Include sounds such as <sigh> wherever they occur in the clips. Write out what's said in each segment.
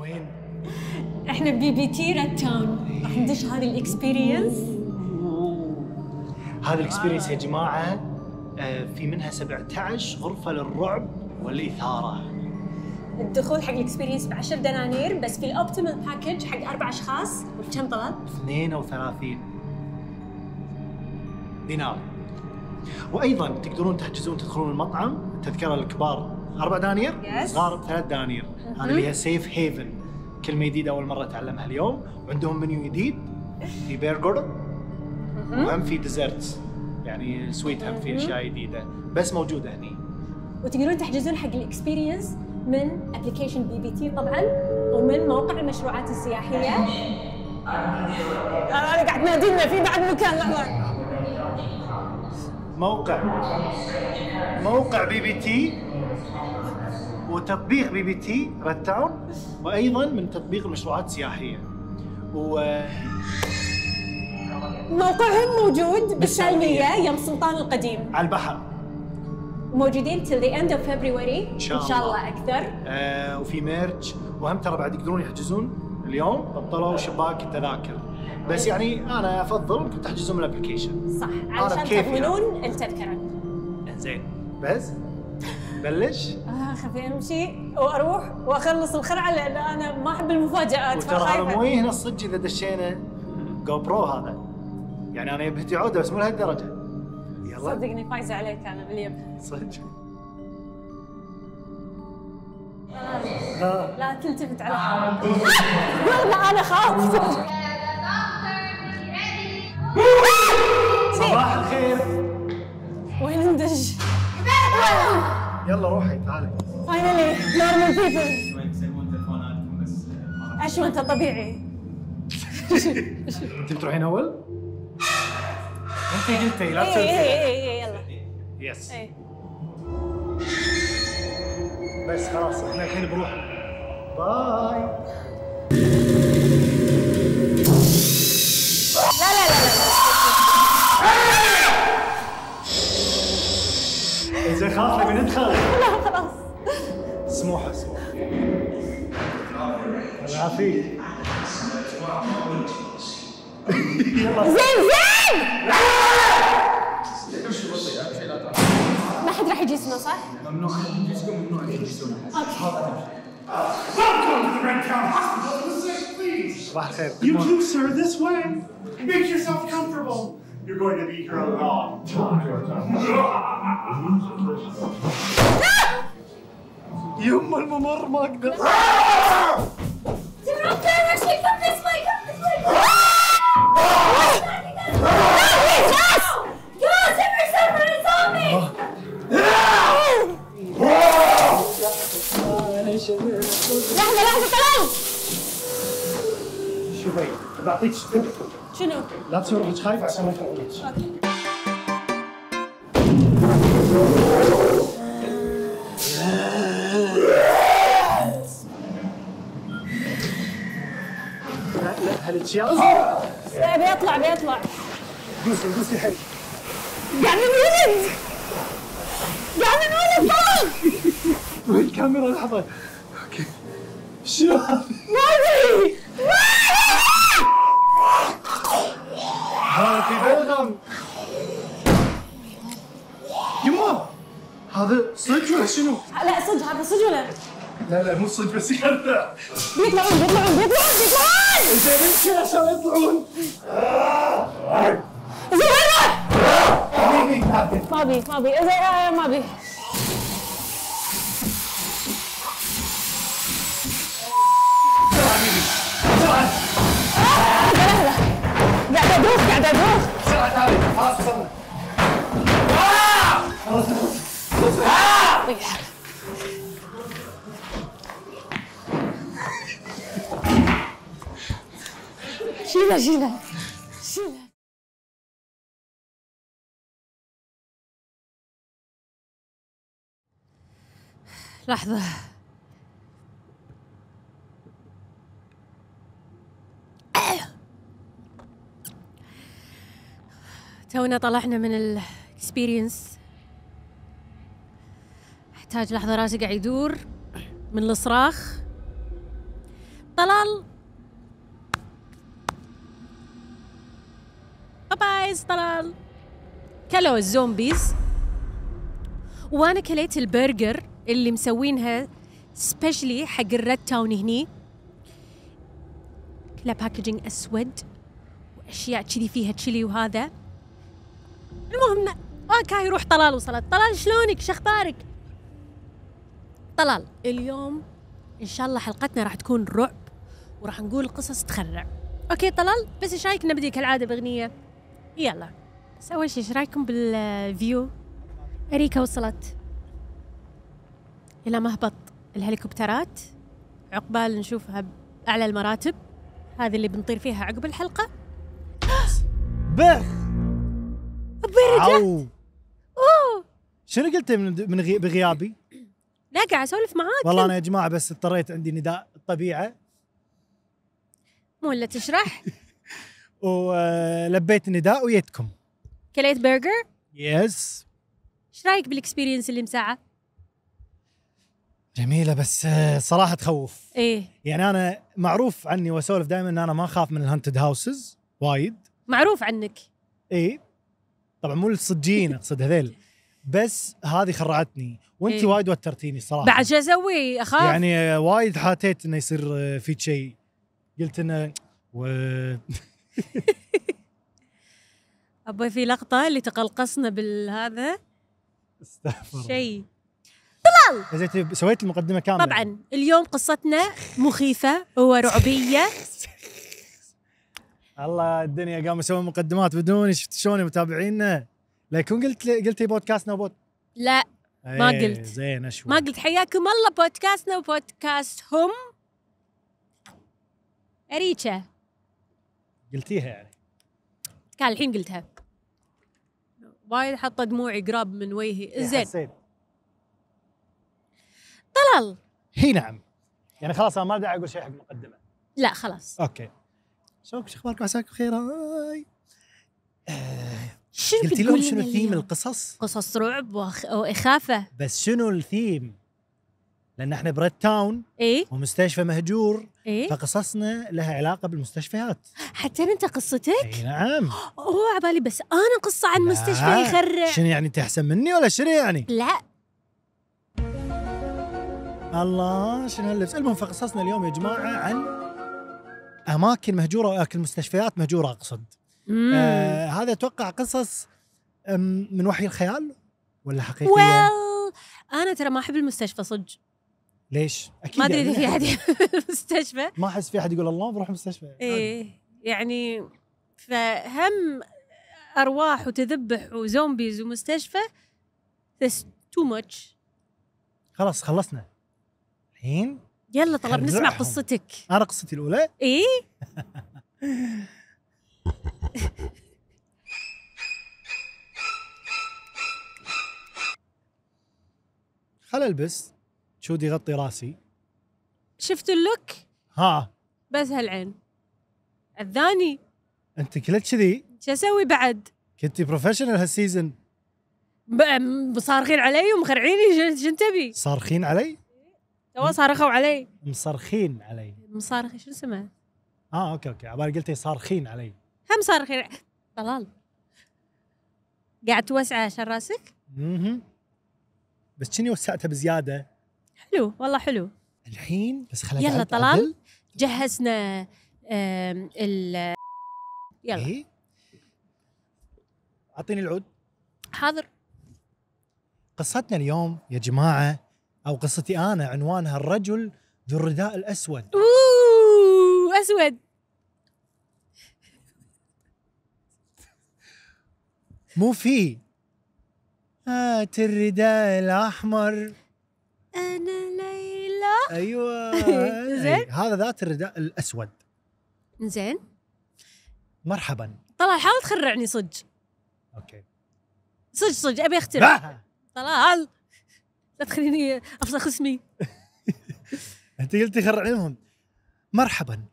وين؟ احنا ببي بي تي ريد تاون راح ندش هذه الاكسبيرينس هذا الاكسبيرينس يا جماعه آه، في منها 17 غرفه للرعب والاثاره الدخول حق الاكسبيرينس ب 10 دنانير بس في الاوبتيمال باكج حق اربع اشخاص بكم طلب؟ 32 دينار وايضا تقدرون تحجزون تدخلون المطعم التذكره للكبار اربع دنانير Yes. صغار ثلاث دنانير هذا اللي هي سيف هيفن كلمه جديده اول مره اتعلمها اليوم وعندهم منيو جديد في برجر وهم في ديزرتس يعني سويت هم في اشياء جديده بس موجوده هني وتقدرون تحجزون حق الاكسبيرينس من ابلكيشن بي بي تي طبعا ومن موقع المشروعات السياحيه انا قاعد نادينا في بعد مكان لحظه موقع موقع بي بي تي وتطبيق بي بي تي ريد تاون وايضا من تطبيق المشروعات السياحيه و موقعهم موجود بالسالميه يم سلطان القديم على البحر موجودين till the end of February إن شاء ان شاء الله. الله اكثر آه وفي ميرج وهم ترى بعد يقدرون يحجزون اليوم بطلوا شباك التذاكر بس يعني انا افضل انكم تحجزون من الابلكيشن صح أنا علشان بكيفي. تضمنون التذكره زين بس بلش آه خفي امشي واروح واخلص الخرعه لان انا ما احب المفاجات وترى هذا فخايفة. مو هنا الصج اذا دشينا جو برو هذا يعني انا يبهتي عوده بس مو لهالدرجه يلا صدقني فايزه عليك انا باليم صدق لا تلتفت على حالك والله انا خاف صباح الخير وين ندش؟ يلا روحي تعالي فاينلي نورمال بيبل شوي تسلمون تلفوناتكم بس ما راح اشوى انت طبيعي انت بتروحين إيه، اول؟ انت قلتي لا اي اي تسوي اي اي إيه، يلا إيه. يس إي. بس خلاص احنا الحين بنروح باي لا لا لا لا زين خلاص نبي ندخل لا خلاص سموحه سموحه العافية يلا زين زين ما حد راح يجلسنا صح؟ ممنوع يجلسكم ممنوع تجلسون Welcome to the Red Town Hospital for the sick, please. صباح الخير You too, sir, this way. Make yourself comfortable. You're going to be here a long time. يم الممر ما اقدر لحظة لحظة خلاص شوفي بعطيك شنو؟ لا تصير روحك خايفه عشان ما تروحيش لا لا هالاشياء لا، بيطلع بيطلع دوسي دوسي حيل قاعد نولد قاعد نولد خلاص وين الكاميرا لحظه اوكي شو هذا؟ ماضي هذا في بلغم يما هذا صدق ولا شنو؟ لا صدق هذا صدق ولا لا لا مو صدق بس يخدع بيطلعون بيطلعون بيطلعون بيطلعون زين امشي عشان يطلعون زين وين راح؟ هني، هني. ما بي ما بي زين آه، ما بي آه، لحظة، لحظة. قاعد ادوخ قاعد ادوخ بسرعه تعالي خلاص وصلنا شيله شيله شيله لحظة تونا طلعنا من الاكسبيرينس احتاج لحظة راسي قاعد يدور من الصراخ طلال بابايز طلال كلوا الزومبيز وانا كليت البرجر اللي مسوينها سبيشلي حق الريد تاون هني كلها باكجينج اسود واشياء كذي فيها تشيلي وهذا المهم اوكي روح طلال وصلت طلال شلونك شخبارك طلال اليوم ان شاء الله حلقتنا راح تكون رعب وراح نقول قصص تخرع اوكي طلال بس ايش رايك نبدي كالعاده باغنيه يلا بس اول شيء ايش رايكم بالفيو اريكا وصلت الى مهبط الهليكوبترات عقبال نشوفها باعلى المراتب هذه اللي بنطير فيها عقب الحلقه بخ برجع عو اوه شنو قلت من من غي... بغيابي؟ لا قاعد اسولف معاك والله انا يا جماعه بس اضطريت عندي نداء الطبيعه مو الا تشرح <laughs> e, ولبيت النداء ويتكم كليت برجر يس ايش رايك بالاكسبيرينس اللي مساعه جميله بس آه، صراحه تخوف ايه يعني انا معروف عني واسولف دائما ان انا ما اخاف من الهانتد هاوسز وايد معروف عنك اي طبعا إيه؟ مو الصجيين <laughs> اقصد هذيل بس هذه خرعتني وانت إيه. وايد وترتيني صراحه بعد شو اسوي اخاف يعني يعني آه، وايد حاتيت انه يصير آه، في شيء قلت انه و... <laughs> ابوي في لقطه اللي تقلقصنا بالهذا استغفر شيء شيء سويت المقدمه كامله طبعا اليوم قصتنا مخيفه ورعبيه الله الدنيا قاموا يسوون مقدمات بدون شفت شلون متابعينا لا يكون قلت لي قلت لي بودكاستنا وبود لا ما قلت. إيه، زين اشوي ما قلت حياكم الله بودكاستنا وبودكاستهم اريكه قلتيها يعني كان الحين قلتها وايد حاطه دموعي قراب من وجهي إيه، زين حسيت. طلال هي نعم يعني خلاص انا ما داعي اقول شيء حق المقدمه لا خلاص اوكي شلونكم شو اخباركم عساكم بخير هاي آه، <laughs> شنو قلتي لهم بتقول شنو لنا ثيم اليوم؟ القصص قصص رعب وأخ... واخافه بس شنو الثيم لان احنا بريد تاون ايه ومستشفى مهجور ايه فقصصنا لها علاقه بالمستشفيات حتى انت قصتك اي نعم اوه على بالي بس انا قصه عن لا. مستشفى يخرع شنو يعني انت احسن مني ولا شنو يعني؟ لا الله شنو هاللبس؟ المهم فقصصنا اليوم يا جماعه عن اماكن مهجوره واكل مستشفيات مهجوره اقصد. آه هذا اتوقع قصص أم، من وحي الخيال ولا حقيقيه؟ ويل انا ترى ما احب المستشفى صدق ليش؟ اكيد ما ادري يعني اذا في احد يحب المستشفى ما احس في احد يقول الله بروح طيب، المستشفى ايه يعني فهم ارواح وتذبح وزومبيز ومستشفى ذس تو ماتش خلاص خلصنا. الحين يلا طلب نسمع خرعهم. قصتك انا قصتي الاولى ايه خل البس شودي يغطي راسي شفتوا اللوك ها بس هالعين الثاني انت كلت كذي شو اسوي بعد كنتي بروفيشنال هالسيزون ب- صارخين علي ومخرعيني شو- شو تبي؟ صارخين علي؟ تو صارخوا علي مصرخين علي مصارخ شو اسمه؟ اه اوكي اوكي عبالي قلتي صارخين علي هم صارخين ع- طلال قاعد توسعه عشان راسك؟ اها بس شني وسعتها بزياده حلو والله حلو الحين بس خليني يلا طلال جهزنا آم، ال يلا يلا اعطيني إيه. العود حاضر قصتنا اليوم يا جماعه او قصتي انا عنوانها الرجل ذو الرداء الاسود اوه اسود مو آه، في هات الرداء الاحمر انا ليلى <laughs> ايوه زين. أي، هذا ذات الرداء الاسود زين مرحبا طلال حاول تخرعني صدق اوكي صدق صدق ابي اخترع لا، طلال لا تخليني افسخ اسمي انت قلتي خرعينهم مرحبا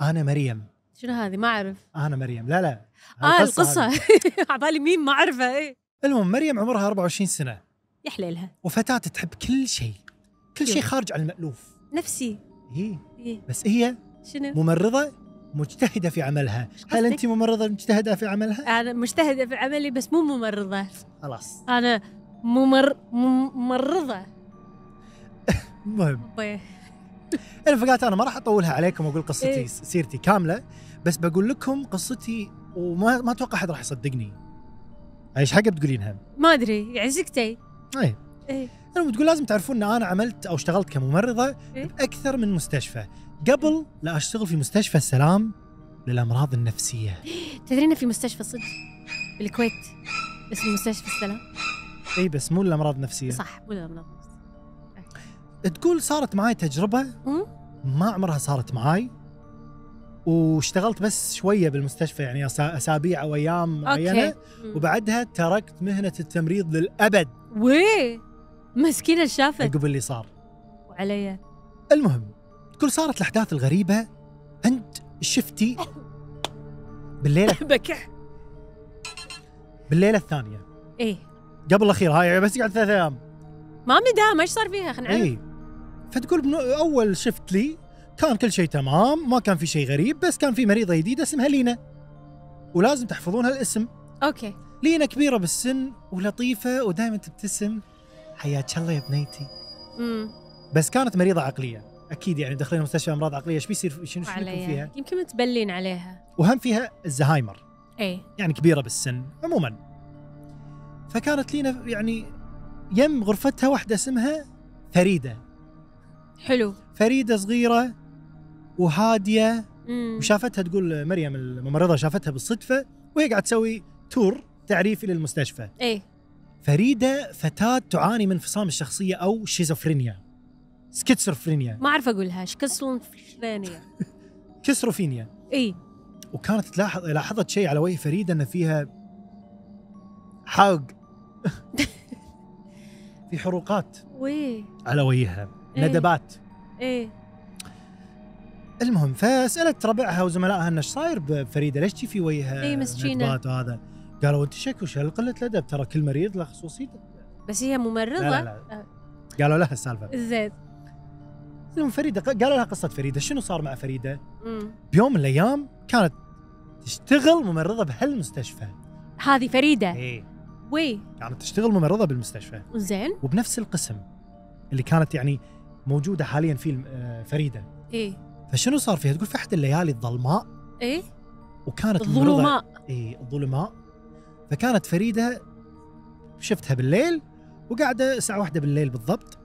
انا مريم شنو هذه ما اعرف انا مريم لا لا اه هذه. القصة <laughs> عبالي مين ما اعرفه ايه المهم مريم عمرها 24 سنة يا حليلها وفتاة تحب كل شيء كل شيء خارج عن المألوف نفسي هي إيه. بس هي شنو؟ ممرضه مجتهده في عملها هل قصدك؟ انت ممرضه مجتهده في عملها انا مجتهده في عملي بس مو ممرضه خلاص انا ممر ممرضه المهم طيب. الفقات انا ما راح اطولها عليكم واقول قصتي إيه. سيرتي كامله بس بقول لكم قصتي وما ما اتوقع احد راح يصدقني ايش حق بتقولينها ما ادري يعني سكتي اي إيه. انا بتقول لازم تعرفون ان انا عملت او اشتغلت كممرضه إيه. باكثر من مستشفى قبل لا اشتغل في مستشفى السلام للامراض <laughs> النفسيه تدري إن في مستشفى صدق بالكويت اسمه مستشفى السلام اي بس مو الامراض النفسيه صح مو الأمراض. تقول صارت معاي تجربه مم. ما عمرها صارت معاي واشتغلت بس شويه بالمستشفى يعني أسا- اسابيع او ايام معينه اوكي وبعدها تركت مهنه التمريض للابد وي مسكينه شافت عقب اللي صار وعليا المهم تقول صارت الاحداث الغريبه عند شفتي بالليله بكح بالليله الثانيه ايه قبل الاخير هاي بس قعدت ثلاث ايام ما مدام ايش صار فيها خلينا نعرف اي إيه. فتقول بنو... اول شفت لي كان كل شيء تمام ما كان في شيء غريب بس كان في مريضه جديده اسمها لينا ولازم تحفظون هالاسم اوكي لينا كبيره بالسن ولطيفه ودائما تبتسم حياك الله يا بنيتي امم بس كانت مريضه عقليه اكيد يعني داخلين مستشفى امراض عقليه ايش بيصير شنو شنو يكون عليا فيها يمكن متبلين عليها وهم فيها الزهايمر ايه يعني كبيره بالسن عموما فكانت لينا يعني يم غرفتها واحده اسمها فريده حلو فريده صغيره وهاديه امم وشافتها تقول مريم الممرضه شافتها بالصدفه وهي قاعد تسوي تور تعريفي للمستشفى ايه فريده فتاه تعاني من انفصام الشخصيه او شيزوفرينيا سكيتسوفرينيا ما اعرف اقولها شكسلون ثانيه كسروفينيا ايه وكانت تلاحظ لاحظت شيء على وجه فريده ان فيها حق في حروقات وي على وجهها إيه. ندبات ايه المهم فسالت ربعها وزملائها ان ايش صاير بفريده ليش تجي في وجهها إيه، مسكينة. آه، ندبات وهذا قالوا انت شكو شو قله الادب ترى كل مريض له خصوصيته بس هي ممرضه لا لا لا قالوا لها السالفه زين المهم فريده قالوا لها قصه فريده شنو صار مع فريده؟ أمم. بيوم من الايام كانت تشتغل ممرضه بهالمستشفى هذه فريده اي وي كانت تشتغل ممرضه بالمستشفى زين وبنفس القسم اللي كانت يعني موجوده حاليا فيه آه، فريده ايه فشنو صار فيها؟ تقول في احد الليالي الظلماء ايه وكانت الممرضة- الظلماء اي الظلماء فكانت فريده شفتها بالليل وقاعده الساعه واحدة بالليل بالضبط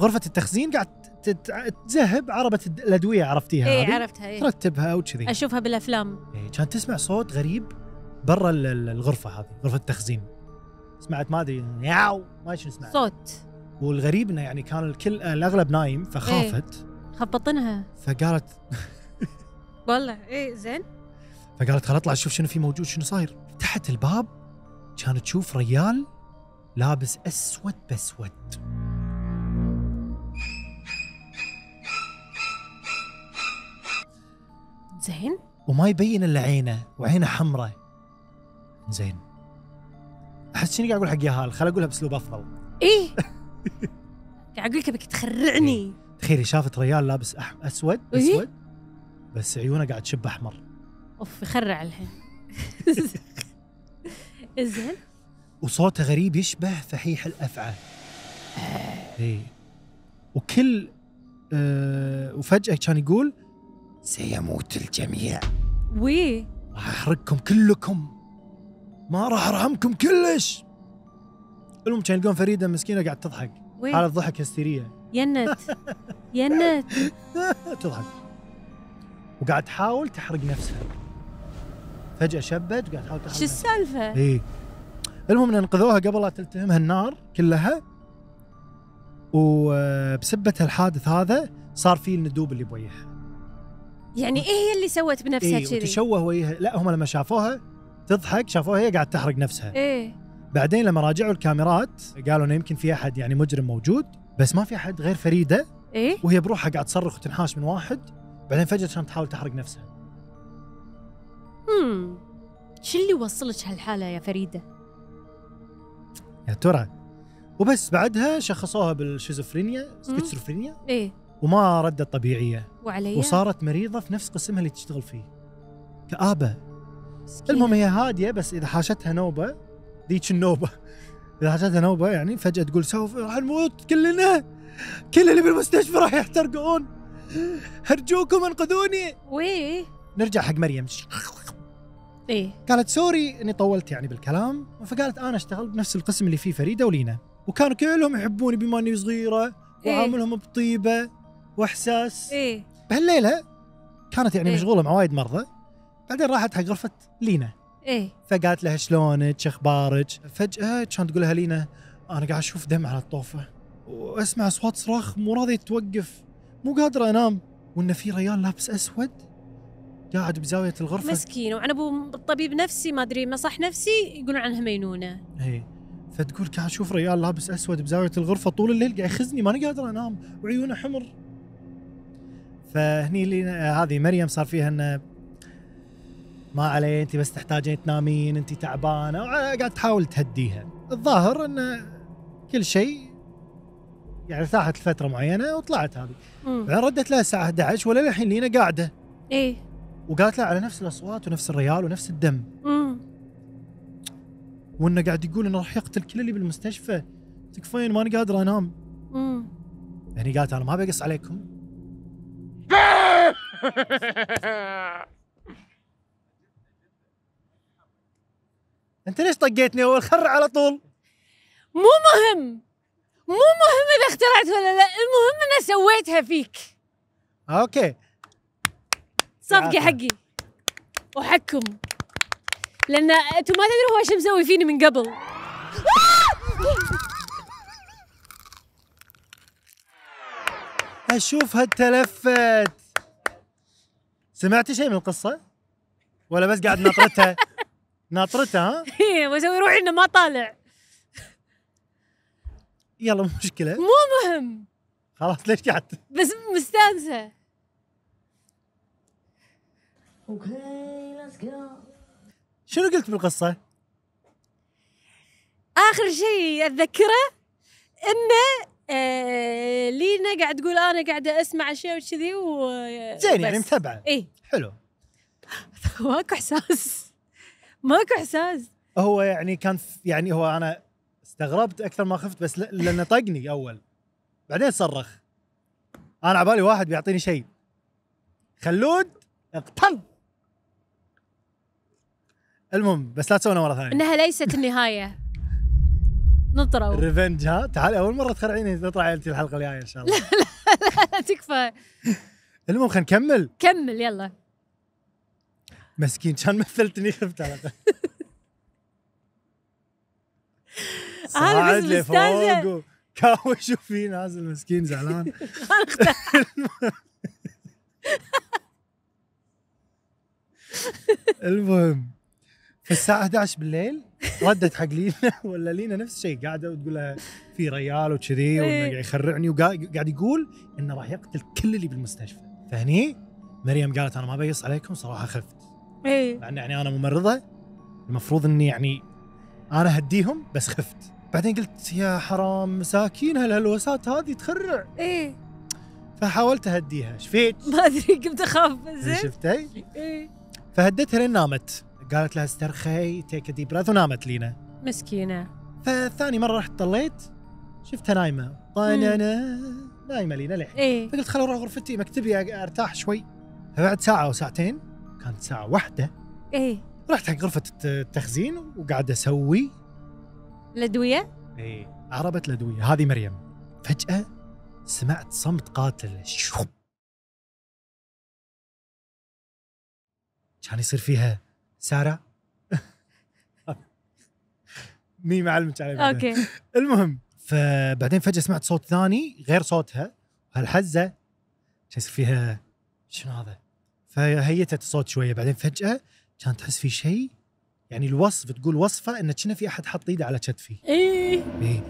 غرفه التخزين قاعد تت- تزهب عربه الد- الادويه عرفتيها ايه هذه؟ عرفتها ايه ترتبها وكذي اشوفها بالافلام إيه، كانت تسمع صوت غريب برا ال- ال- الغرفه هذه غرفه التخزين سمعت ما ادري ياو ما ادري شنو سمعت صوت والغريب انه يعني كان الكل الاغلب نايم فخافت خبطنها فقالت والله ايه زين فقالت خل اطلع اشوف شنو في موجود شنو صاير فتحت الباب كانت تشوف ريال لابس اسود بسود زين وما يبين الا عينه وعينه حمراء زين احس شنو قاعد اقول حق ياهال خل اقولها باسلوب افضل ايه <laughs> قاعد اقول لك ابيك تخرعني تخيلي شافت ريال لابس أح... اسود إيه؟ اسود بس عيونه قاعد تشب احمر اوف يخرع الحين <laughs> زين وصوته غريب يشبه فحيح الافعى اي وكل آه وفجاه كان يقول سيموت الجميع وي راح احرقكم كلكم ما راح ارحمكم كلش المهم كان يلقون فريده مسكينه قاعد تضحك وي حالة ضحك هستيريه <laughs> ينت ينت تضحك وقاعد تحاول تحرق نفسها فجاه شبت وقاعد تحاول تحرق شو نفسها السالفه؟ اي إيه. المهم ان انقذوها قبل لا تلتهمها النار كلها وبسبة الحادث هذا صار فيه الندوب اللي بوجهها يعني ايه هي اللي سوت بنفسها اي كذي؟ إيه، وتشوه وجهها لا هم لما شافوها تضحك شافوها هي قاعد تحرق نفسها ايه بعدين لما راجعوا الكاميرات قالوا انه يمكن في احد يعني مجرم موجود بس ما في احد غير فريده ايه وهي بروحها قاعد تصرخ وتنحاش من واحد بعدين فجاه كانت تحاول تحرق نفسها امم شو اللي وصلك هالحاله يا فريده؟ يا ترى وبس بعدها شخصوها بالشيزوفرينيا سكيزوفرينيا ايه وما ردت طبيعيه وعليا وصارت مريضه في نفس قسمها اللي تشتغل فيه كابه المهم هي هاديه بس اذا حاشتها نوبه ذيك النوبه اذا حاشتها نوبه يعني فجاه تقول سوف راح نموت كلنا كل اللي بالمستشفى راح يحترقون ارجوكم انقذوني وي إيه. نرجع حق مريم ايه قالت سوري اني طولت يعني بالكلام فقالت انا اشتغلت بنفس القسم اللي فيه فريده ولينا وكانوا كلهم يحبوني بما اني صغيره إيه. وعاملهم بطيبه واحساس ايه بهالليله كانت يعني إيه. مشغوله مع وايد مرضى بعدين راحت حق غرفه لينا ايه فقالت لها شلونك شو اخبارك فجاه كانت تقول لها لينا انا قاعد اشوف دم على الطوفه واسمع اصوات صراخ مو راضيه توقف مو قادره انام وانه في ريال لابس اسود قاعد بزاويه الغرفه مسكين وعن ابو الطبيب نفسي ما ادري مصح نفسي يقولون عنها مينونه اي إيه. فتقول قاعد اشوف ريال لابس اسود بزاويه الغرفه طول الليل قاعد يخزني ماني قادر انام وعيونه حمر فهني اللي آه، هذه مريم صار فيها انه ما عليه انت بس تحتاجين تنامين انت تعبانه وع- قاعد تحاول تهديها الظاهر انه كل شيء يعني ارتاحت لفتره معينه وطلعت هذه مم. بعدين ردت لها الساعه 11 ولا الحين لينا قاعده ايه وقالت لها على نفس الاصوات ونفس الريال ونفس الدم مم. وانه قاعد يقول انه راح يقتل كل اللي بالمستشفى تكفين ماني قادر انام مم. هني قالت انا ما بقص عليكم <laughs> انت ليش طقيتني اول خر على طول مو مهم مو مهم اذا اخترعت ولا لا المهم انا سويتها فيك اوكي صفقه يعافيك. حقي وحكم لان انتم ما تدروا هو شو مسوي فيني من قبل <laughs> اشوفها تلفت سمعتي شيء من القصه ولا بس قاعد ناطرتها <laughs> ناطرتها ها واسوي إيه، روحي انه ما طالع يلا مو مشكله مو مهم خلاص ليش قاعد بس مستانسه شنو قلت بالقصه اخر شيء اتذكره انه آه لينا قاعد تقول انا قاعده اسمع اشياء وكذي و آه، زين يعني بس. متابعه ايه حلو <laughs> ماكو احساس ماكو احساس هو يعني كان ف- يعني هو انا استغربت اكثر ما خفت بس ل- لانه طقني اول بعدين صرخ انا عبالي واحد بيعطيني شيء خلود اقتل المهم بس لا تسوونه مره ثانيه انها ليست النهايه نطروا الريفنج ها تعالي اول مره تخرعيني تطلع عيلتي الحلقه الجايه ان شاء الله تكفى المهم خلينا نكمل كمل يلا مسكين كان مثلتني خفت على الاقل هذا بس صاعد لفوق مستانسة. و- كاوش وفي نازل مسكين زعلان <laughs> المهم في الساعة 11 بالليل ردت حق لينا <laughs> ولا لينا نفس الشيء قاعدة وتقول لها في ريال وكذي وانه قاعد يخرعني وقاعد يقول انه راح يقتل كل اللي بالمستشفى فهني مريم قالت انا ما بيص عليكم صراحة خفت ايه مع ان يعني انا ممرضه المفروض اني يعني انا هديهم بس خفت بعدين قلت يا حرام مساكين هالهلوسات هذه تخرع ايه فحاولت اهديها ايش فيك؟ ما ادري قمت اخاف زين شفتي؟ ايه فهدتها لين نامت قالت لها استرخي تيك دي براث ونامت لينا مسكينه فثاني مره رحت طليت شفتها نايمه طننا نايمه لينا للحين ايه فقلت خل اروح غرفتي مكتبي أق- ارتاح شوي فبعد ساعه او ساعتين كانت ساعه واحدة ايه رحت حق غرفه الت- التخزين وقاعد اسوي الادويه ايه عربت الادويه هذه مريم فجاه سمعت صمت قاتل شوب كان يصير فيها ساره <laughs> مي معلم اوكي المهم فبعدين فجاه سمعت صوت ثاني غير صوتها هالحزه كان يصير فيها شنو هذا فهيتت الصوت شويه بعدين فجاه كانت تحس في شيء يعني الوصف تقول وصفه ان كنا في احد حط ايده على كتفي ايه ايه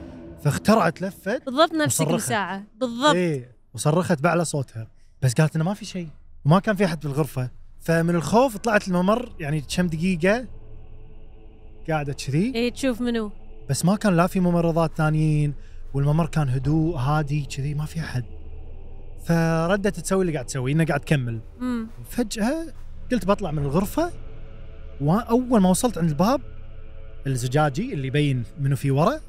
فاخترعت لفت بالضبط نفس كل مصرخة. ساعه بالضبط ايه وصرخت باعلى صوتها بس قالت انه ما في شيء وما كان في احد بالغرفه فمن الخوف طلعت الممر يعني كم دقيقه قاعده كذي ايه تشوف منو بس ما كان لا في ممرضات ثانيين والممر كان هدوء هادي كذي ما في احد فردت تسوي اللي قاعد تسوي انها قاعد تكمل امم فجاه قلت بطلع من الغرفه واول ما وصلت عند الباب الزجاجي اللي يبين منه في ورا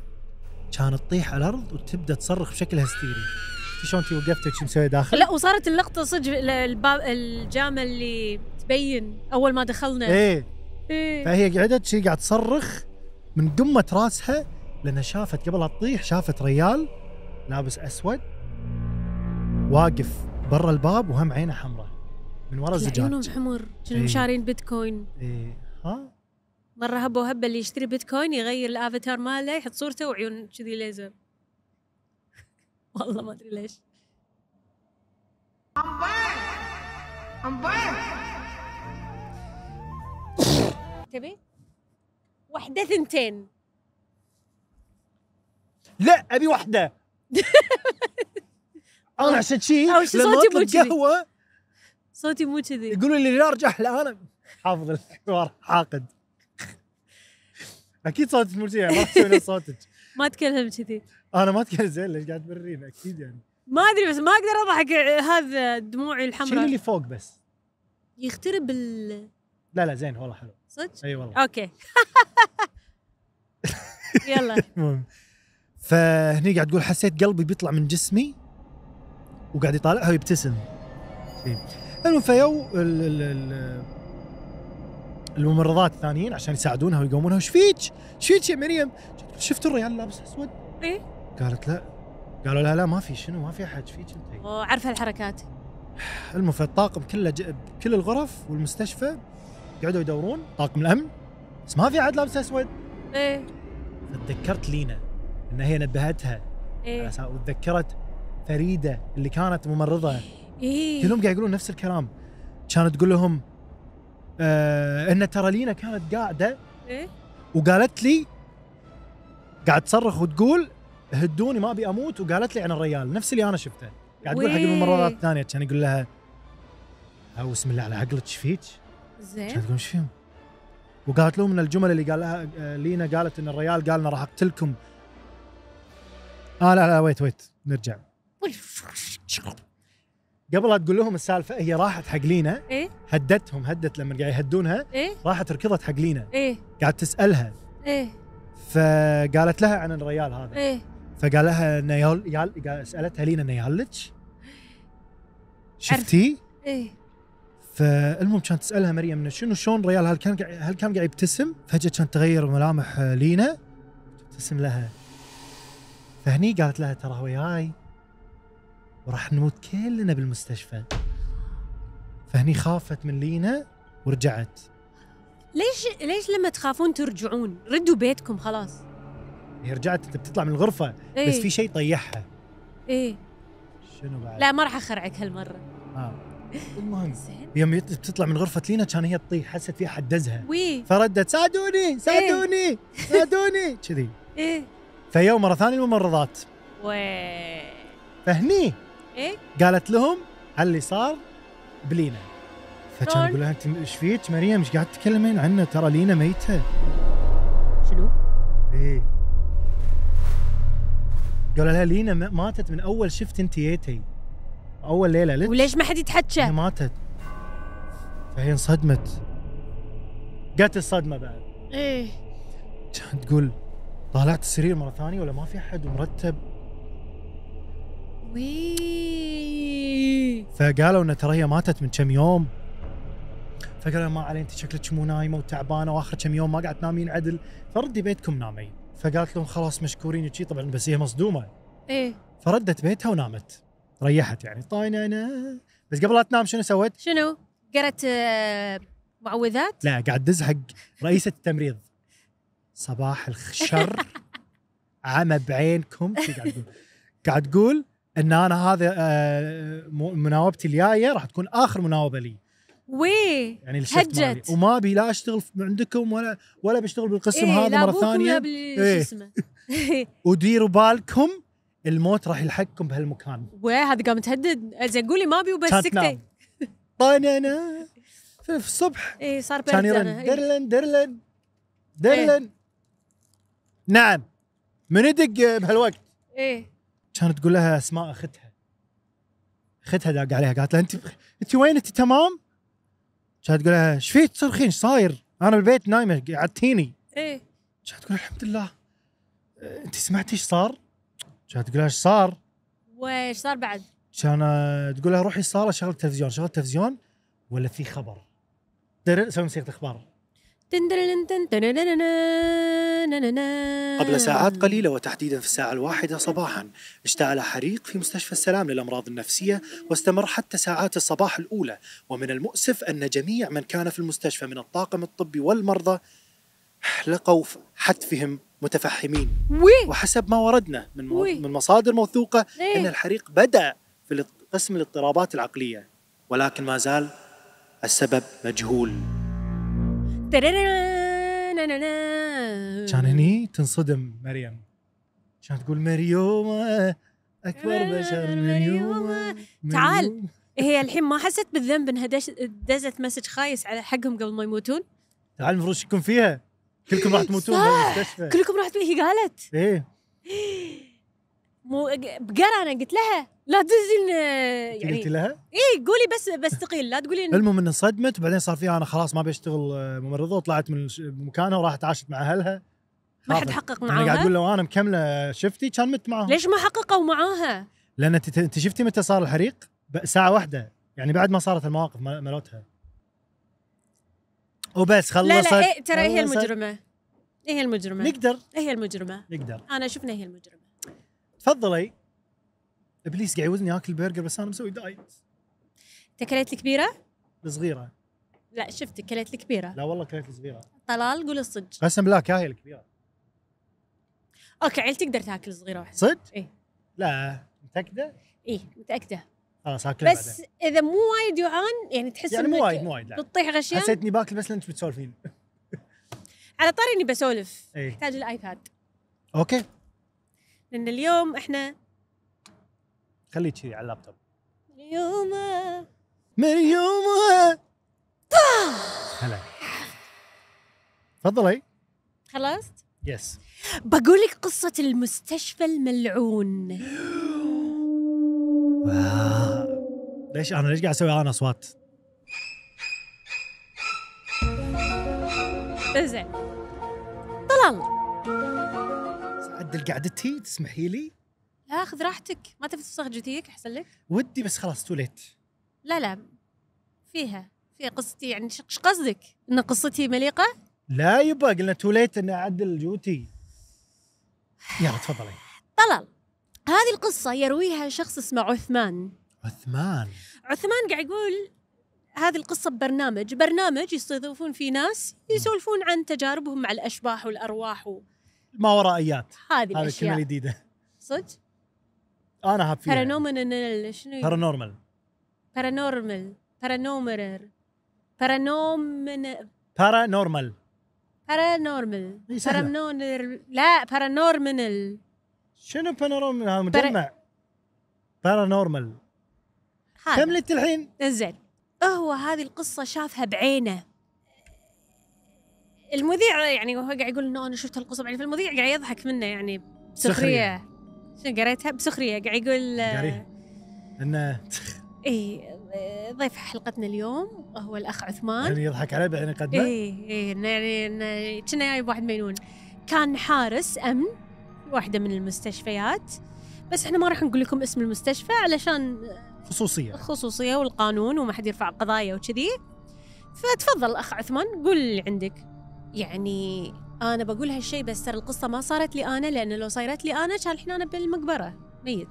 كانت تطيح على الارض وتبدا تصرخ بشكل هستيري شفتي شلون انت وقفتك شو مسوي <laughs> داخل؟ لا وصارت اللقطه صدق ال- الباب الجامه اللي تبين اول ما دخلنا ايه إيه. فهي قعدت شي قاعد تصرخ من قمه راسها لانها شافت قبل لا تطيح شافت ريال لابس اسود واقف برا الباب وهم عينه حمراء من ورا لا، عيونهم الزجاج حمر كانوا إيه. شارين بيتكوين إيه ها مره هبه هبه اللي يشتري بيتكوين يغير الافاتار ماله يحط صورته وعيون كذي ليزر <laughs> والله ما ادري ليش تبي واحده ثنتين لا ابي <laughs> واحده انا عشان شي أول شي لما صوتي أطلب مو كذي. قهوه صوتي مو كذي يقولوا لي لا ارجع لا انا حافظ الحوار حاقد اكيد صوتك مو كذي، ما تسوي نفس صوتك ما اتكلم كذي انا ما اتكلم زين ليش قاعد تمرين اكيد يعني ما ادري بس ما اقدر اضحك هذا دموعي شيل الحمراء اللي فوق بس يخترب ال لا لا زين والله حلو صدق اي والله <laughs> اوكي يلا المهم فهني قاعد تقول حسيت قلبي بيطلع من جسمي وقاعد يطالعها ويبتسم إيه. المهم فيو ال- ال- ال- الممرضات الثانيين عشان يساعدونها ويقومونها وش فيك؟ ايش فيك يا مريم؟ شفت الريال لابس اسود؟ إيه. قالت لا قالوا لها لا ما في شنو ما في احد ايش فيك انت؟ وعارفه الحركات المهم فالطاقم كله ج... بكل الغرف والمستشفى قعدوا يدورون طاقم الامن بس ما في احد لابس اسود ايه فتذكرت لينا ان هي نبهتها على ايه أساس- وتذكرت فريده اللي كانت ممرضه ايه كلهم قاعد يقولون نفس الكلام كانت تقول لهم آه ان ترى لينا كانت قاعده إيه؟ وقالت لي قاعد تصرخ وتقول هدوني ما ابي اموت وقالت لي عن الريال نفس اللي انا شفته قاعد تقول حق ويه. الممرضات الثانيه كان يقول لها او بسم الله على عقلك ايش فيك؟ كانت زين تقول ايش فيهم؟ وقالت لهم من الجمل اللي قال لها آه، لينا قالت ان الريال قال لنا راح اقتلكم اه لا لا ويت ويت نرجع قبل لا تقول لهم السالفه هي راحت حق لينا إيه؟ هدتهم هدت لما قاعد يهدونها ايه راحت ركضت حق لينا ايه قاعد تسالها ايه فقالت لها عن الريال هذا ايه فقال لها انه يال يال قال- سالتها لينا انه يهلج شفتي؟ ايه فالمهم كانت تسالها مريم انه شنو شلون ريال هل كان قاعد- هل كان قاعد يبتسم؟ فجاه كانت تغير ملامح آه، لينا تبتسم لها فهني قالت لها ترى هو جاي وراح نموت كلنا بالمستشفى فهني خافت من لينا ورجعت ليش ليش لما تخافون ترجعون ردوا بيتكم خلاص هي رجعت انت بتطلع من الغرفه ايه بس في شيء طيحها ايه شنو بعد؟ لا ما راح اخرعك هالمره آه. المهم زين يوم يت- بتطلع من غرفه لينا كان هي تطيح حست في احد دزها وي فردت ساعدوني ساعدوني ساعدوني كذي ايه فيوم مره ثانيه الممرضات وي فهني ايه قالت لهم على اللي صار بلينا فكان شلون؟ يقول لها انت ايش فيك مريم ايش قاعد تتكلمين عنه ترى لينا ميته شنو؟ ايه قالوا لها لينا م- ماتت من اول شفت انت جيتي اول ليله لت وليش ما حد هي يتحكى؟ ماتت فهي انصدمت جت الصدمه بعد ايه كانت تقول طالعت السرير مره ثانيه ولا ما في احد ومرتب وي فقالوا ان ترى هي ماتت من كم يوم فقالوا ما علي انت شكلك مو نايمه وتعبانه واخر كم يوم ما قاعد تنامين عدل فردي بيتكم نامي فقالت لهم خلاص مشكورين وشي طبعا بس هي مصدومه ايه فردت بيتها ونامت ريحت يعني طاينه بس قبل لا تنام شنو سوت؟ شنو؟ قرأت آه، معوذات؟ لا قاعد دز حق رئيسة التمريض صباح الشر عمى بعينكم شي قاعد تقول قاعد تقول ان انا هذا آه، مو- مناوبتي الجايه راح تكون اخر مناوبه لي وي يعني الشفت مالي هجت. وما ابي لا اشتغل في- عندكم ولا ولا بشتغل بالقسم إيه، لا هذا مره أبوكم لا ثانيه بال- إيه. شو اسمه وديروا بالكم الموت راح يلحقكم بهالمكان وي هذا قام تهدد زين قولي ما ابي وبس كانت سكتي نام. طننا في الصبح ايه صار برد كان انا يرن إيه. درلن درلن درلن نعم من يدق بهالوقت ايه كانت تقول لها اسماء اختها اختها داق عليها قالت لها انت انت وين انت تمام؟ كانت تقول لها ايش فيك تصرخين ايش صاير؟ انا بالبيت نايمه قعدتيني ايه كانت تقول الحمد لله أه، انت سمعتي ايش صار؟ كانت تقول لها ايش صار؟ وايش صار بعد؟ كان آه، تقول لها روحي الصاله شغل التلفزيون شغل التلفزيون ولا في خبر درر- سوي موسيقى اخبار تندرلن تن تننننا- نننا. قبل ساعات قليلة وتحديدا في الساعة الواحدة صباحا اشتعل حريق في مستشفى السلام للأمراض النفسية واستمر حتى ساعات الصباح الأولى ومن المؤسف أن جميع من كان في المستشفى من الطاقم الطبي والمرضى لقوا في حتفهم متفحمين وي وحسب ما وردنا من مو- إيه. وي. من مصادر موثوقة إيه. أن الحريق بدأ في الاض- قسم الاضطرابات العقلية ولكن ما زال السبب مجهول ترررن- نننا. كان هني تنصدم مريم كانت تقول مريومة أكبر بشر مريومة تعال. مريومة. إيه، هي الحين ما حست بالذنب انها دش- دزت مسج خايس على حقهم قبل ما يموتون تعال المفروض شو يكون فيها كلكم راح تموتون بالمستشفى كلكم رحت هي قالت ايه مو بقرا انا قلت لها لا تدزي لنا يعني قلت يعني لها اي قولي بس بستقيل لا تقولي إن- المهم انها صدمت وبعدين صار فيها انا خلاص ما بشتغل آه، ممرضه وطلعت من الش- مكانها وراحت عاشت مع اهلها ما حد خافت. حقق انا يعني قاعد اقول معاها لو انا مكمله شفتي كان مت معهم ليش ما حققوا معاها لان انت أنت شفتي متى صار الحريق؟ ب- ساعه واحده يعني بعد ما صارت المواقف مال- مالتها وبس خلصت لا لا إيه ترى هي خلصت. المجرمة إيه هي المجرمة إيه نقدر هي المجرمة نقدر انا شفنا هي المجرمة تفضلي ابليس قاعد يوزني اكل برجر بس انا مسوي دايت تكلت الكبيرة الصغيره لا شفت كلت الكبيرة لا والله كانت صغيره طلال قول الصج قسم بالله كاهي الكبيره اوكي عيل تقدر تاكل صغيرة واحدة صدق؟ إيه. لا متاكده؟ اي متأكدة خلاص اكل بس اذا مو وايد جوعان يعني تحس يعني إنك مو وايد مو وايد لا بتطيح غشيان حسيت اني باكل بس انتم بتسولفين إيه. على طاري اني بسولف اي احتاج الايباد اوكي لان اليوم احنا خليك كذي على اللابتوب اليوم مريوم هلا تفضلي خلصت يس بقول لك قصة المستشفى الملعون ليش انا ليش قاعد اسوي انا اصوات؟ زين طلال عدل قعدتي تسمحي لي؟ لا اخذ راحتك ما تبي تفسخ جثيك احسن لك ودي بس خلاص توليت لا لا فيها فيها قصتي يعني ش- ايش قصدك؟ ان قصتي مليقه؟ لا يبا قلنا توليت اني اعدل جوتي يلا تفضلي طلال هذه القصه يرويها شخص اسمه عثمان عثمان عثمان قاعد يقول هذه القصة ببرنامج برنامج يستضيفون فيه ناس يسولفون عن تجاربهم مع الأشباح والأرواح وهذه ما ورائيات هذه الكلمه الأشياء الجديدة صدق انا هاب فيها يعني. بارانومنال شنو بارانورمال بارانورمال بارانومرر بارانومن بارانورمال بارانورمال إي سهلة. بارانونر لا بارانورمنال شنو بانورمال هذا مجمع بارانورمال هذا كملت الحين زين هو هذه القصة شافها بعينه المذيع يعني وهو قاعد يقول انه انا شفت القصة بعيني فالمذيع قاعد يضحك منه يعني بسخرية شنو قريتها بسخرية قاعد يقول قريها. انه اي ضيف حلقتنا اليوم هو الاخ عثمان يعني يضحك علي بعدين يقدمه اي اي إنه يعني إنه كنا جايب واحد مجنون كان حارس امن واحدة من المستشفيات بس احنا ما راح نقول لكم اسم المستشفى علشان خصوصيه الخصوصيه والقانون وما حد يرفع قضايا وكذي فتفضل اخ عثمان قول اللي عندك يعني انا بقول هالشيء بس ترى القصه ما صارت لي انا لان لو صارت لي انا كان الحين انا بالمقبره <laughs> ميت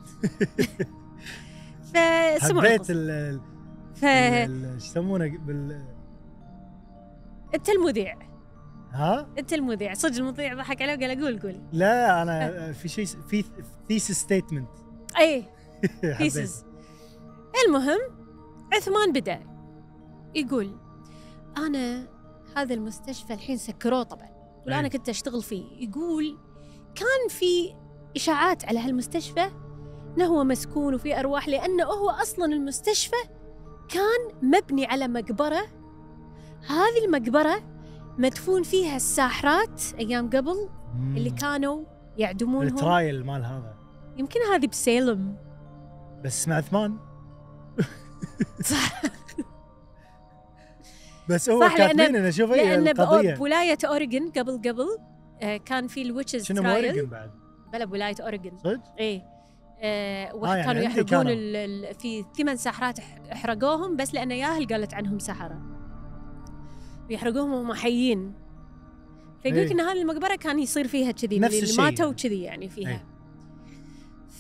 فسمعوا حبيت القصة. إيه. ال <laughs> ال- ف- ال- شو يسمونه بال انت المذيع ها؟ انت المذيع صدق المذيع ضحك عليه وقال قول قول لا <laughs> انا في شيء في ثيسس ستيتمنت <laughs> إيه. اي بيسز المهم عثمان بدا يقول انا هذا المستشفى الحين سكروه طبعا ولا انا أي. كنت اشتغل فيه يقول كان في اشاعات على هالمستشفى انه هو مسكون وفي ارواح لانه هو اصلا المستشفى كان مبني على مقبره هذه المقبره مدفون فيها الساحرات ايام قبل اللي كانوا يعدمونهم الترايل مال هذا يمكن هذه بسيلم بس مع عثمان صح <laughs> بس هو صح، لأن- كاتبين انا شوف إيه، هي لان بأو- القضيه بولايه اوريجن قبل قبل آه، كان في الويتشز شنو ترايل موريجن بعد بلا بولايه اوريجن صدق؟ ايه آه آه، وقت يعني كانوا عندي يحرقون كانوا. ال- ال- في ثمان ساحرات ح- احرقوهم بس لان ياهل قالت عنهم سحره يحرقوهم وهم حيين فيقول لك إيه. ان هذه المقبره كان يصير فيها كذي نفس اللي الشيء ماتوا يعني. كذي يعني فيها إيه.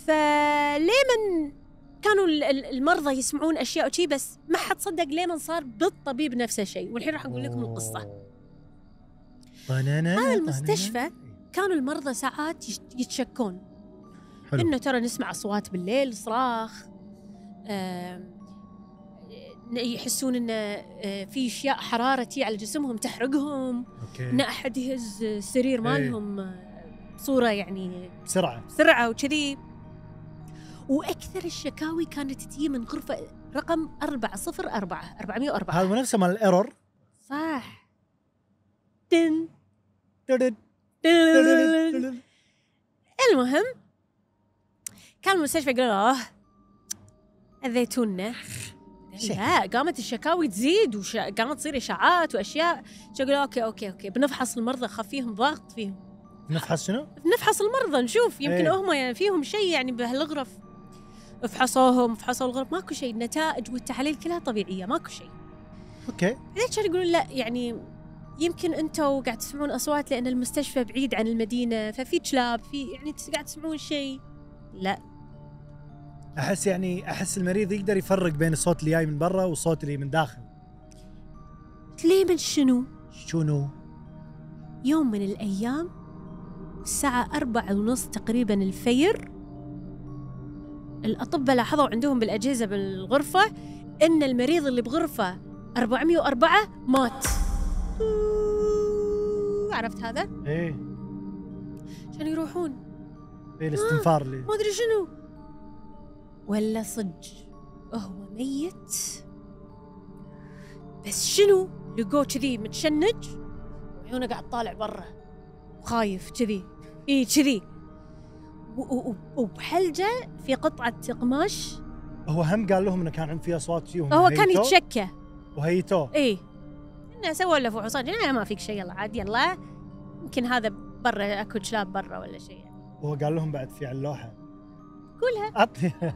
فليمن كانوا ال- ال- المرضى يسمعون اشياء وشي بس ما حد صدق ليمن صار بالطبيب نفس الشيء والحين راح اقول لكم القصه هذا المستشفى كانوا المرضى ساعات يش- يتشكون حلو. انه ترى نسمع اصوات بالليل صراخ آم، ن- يحسون ان آه، في اشياء حراره تي على جسمهم تحرقهم ان اوكي احد يهز السرير إيه. مالهم آه، بصوره يعني بسرعه بسرعه وكذي واكثر الشكاوي كانت تجي من غرفه رقم 404 404 هذا نفسه مال الايرور صح دن المهم كان المستشفى قالوا اه اذيتونا شيء. لا قامت الشكاوي تزيد وقامت تصير اشاعات واشياء قالوا اوكي اوكي اوكي بنفحص المرضى خفيهم ضغط فيهم نفحص شنو؟ نفحص المرضى نشوف يمكن إيه. هم يعني فيهم شيء يعني بهالغرف فحصوهم فحصوا الغرف ماكو شيء النتائج والتحاليل كلها طبيعيه ماكو شيء اوكي بعدين كانوا يقولون لا يعني يمكن انتم قاعد تسمعون اصوات لان المستشفى بعيد عن المدينه ففي كلاب في يعني تس- قاعد تسمعون شيء لا احس يعني احس المريض يقدر يفرق بين الصوت اللي جاي من برا والصوت اللي من داخل قلت ليه من شنو شنو؟ يوم من الايام الساعه أربعة ونص تقريبا الفير الاطباء لاحظوا عندهم بالاجهزه بالغرفه ان المريض اللي بغرفه 404 مات عرفت هذا ايه عشان يروحون ايه الاستنفار اللي ما ادري شنو ولا صج هو ميت بس شنو لقوه كذي متشنج وعيونه قاعد طالع برا وخايف كذي اي كذي و- و- و- وبحلجه في قطعه قماش هو هم قال لهم انه كان عند في اصوات فيهم هو كان يتشكى وهيتوه اي انه سووا له فحوصات لا ما فيك شيء يلا عادي يلا يمكن هذا برا اكو كلاب برا ولا شيء وهو قال لهم بعد في على اللوحه قولها عطني <laughs>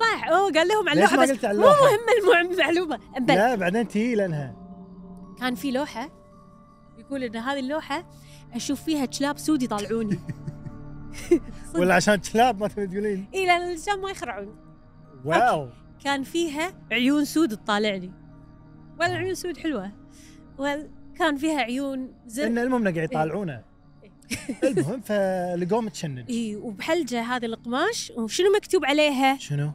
صح هو قال لهم على ليش اللوحه ما بس قلت على مو اللوحة؟ مهمه المعلومه بل لا بعدين تي لانها كان في لوحة يقول إن هذه اللوحة أشوف فيها كلاب سود <laughs> يطالعوني صدق. ولا عشان كلاب ما تبي تقولين إي لأن الكلاب ما يخرعون واو كان فيها عيون سود تطالعني ولا عيون سود حلوة ولا كان فيها عيون ان زرق المهم انه قاعد يطالعونه إيه. المهم فلقوه <laughs> متشنج إي وبحلجة هذا القماش وشنو مكتوب عليها شنو؟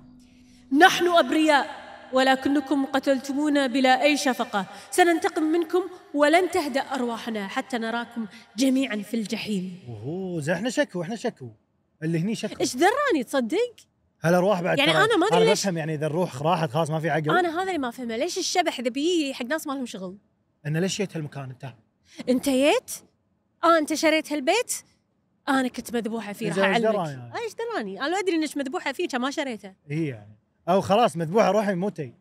نحن أبرياء ولكنكم قتلتمونا بلا أي شفقة سننتقم منكم ولن تهدأ أرواحنا حتى نراكم جميعا في الجحيم اوه زين احنا شكو احنا شكو اللي هني شكو ايش دراني تصدق هل ارواح بعد يعني ترى- أنا ما أدري ليش- بفهم يعني اذا الروح راحت خلاص ما في عقل انا هذا اللي ما فهمه ليش الشبح اذا بيجي حق ناس ما لهم شغل انه ليش جيت هالمكان انت؟ انت جيت اه انت شريت هالبيت انا كنت مذبوحه فيه راح إذا إيش اعلمك دراني يعني؟ آه، ايش دراني انا ادري انك مذبوحه فيه كان ما شريته اي يعني او خلاص مذبوحه روحي موتي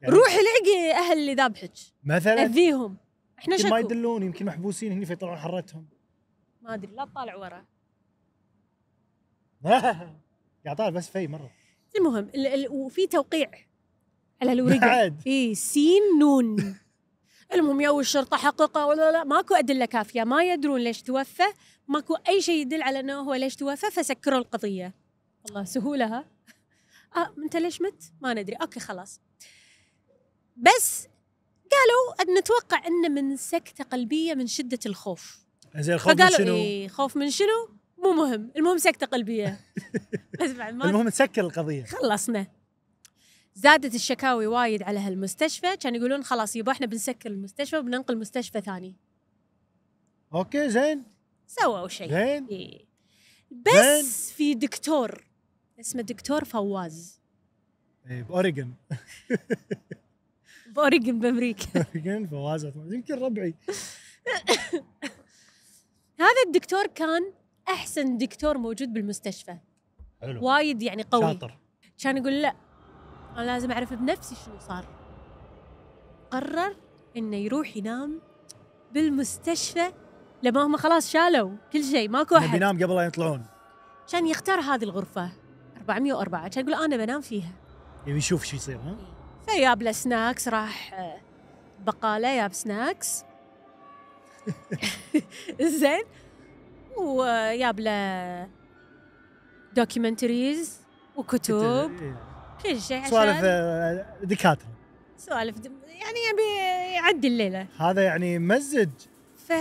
يعني- روحي لعقي اهل اللي ذابحك مثلا اذيهم احنا يمكن ما شكو يدلون يمكن محبوسين هني فيطلعون حرتهم <laughs> ما ادري لا تطالع ورا قاعد طالع بس في مره المهم ال ال وفي توقيع <laughs> على الورقه بعد. اي سين نون المهم يو الشرطه حققه ولا لا ماكو ادله كافيه ما يدرون ليش توفى ماكو اي شيء يدل على انه هو ليش توفى فسكروا القضيه الله سهولها آه انت ليش مت ما ندري اوكي خلاص بس قالوا أن نتوقع انه من سكته قلبيه من شده الخوف زين الخوف من فقالوا شنو؟ اي خوف من شنو مو مهم المهم سكته <laughs> قلبيه بس بعد ما المهم تسكر القضيه خلصنا زادت الشكاوي وايد على هالمستشفى كان يقولون خلاص يبا احنا بنسكر المستشفى وبننقل مستشفى ثاني اوكي زين سووا شيء زين إيه. بس في دكتور اسمه دكتور فواز إيه، <laughs> باوريجن بأوريغون <laughs> بامريكا اوريجن فواز عثمان. يمكن ربعي هذا الدكتور كان احسن دكتور موجود بالمستشفى حلو وايد يعني قوي شاطر كان يقول لا انا لازم اعرف بنفسي شنو صار قرر انه يروح ينام بالمستشفى لما هم خلاص شالوا كل شيء ماكو نبي احد نام قبل لا يطلعون كان يختار هذه الغرفه 404 كان يقول انا بنام فيها يبي يشوف شو يصير ها فياب له سناكس راح آه، بقاله ياب سناكس <laughs> زين وياب له دوكيومنتريز وكتب إيه. كل شيء سوالف عشان آه، دكاتره سوالف دم- يعني يبي يعدي الليله هذا يعني مزج ف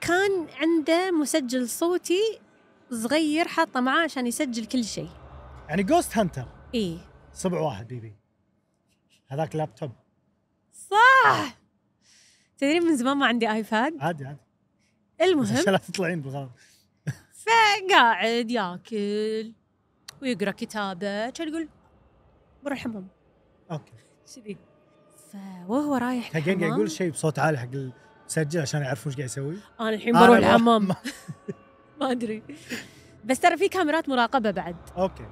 كان عنده مسجل صوتي صغير حاطه معاه عشان يسجل كل شيء يعني جوست هانتر ايه صبع واحد بيبي هذاك لابتوب صح تدري من زمان ما عندي ايباد عادي عادي بس المهم عشان لا تطلعين بالغلط قاعد ياكل ويقرا كتابه كان يقول بروح الحمام اوكي كذي فوهو رايح كان قاعد الحمام، يقول شيء بصوت عالي حق المسجل عشان يعرفون ايش قاعد يسوي انا الحين أنا بروح بروح الحمام <laughs> الحمام. ما ادري بس ترى في كاميرات مراقبه بعد اوكي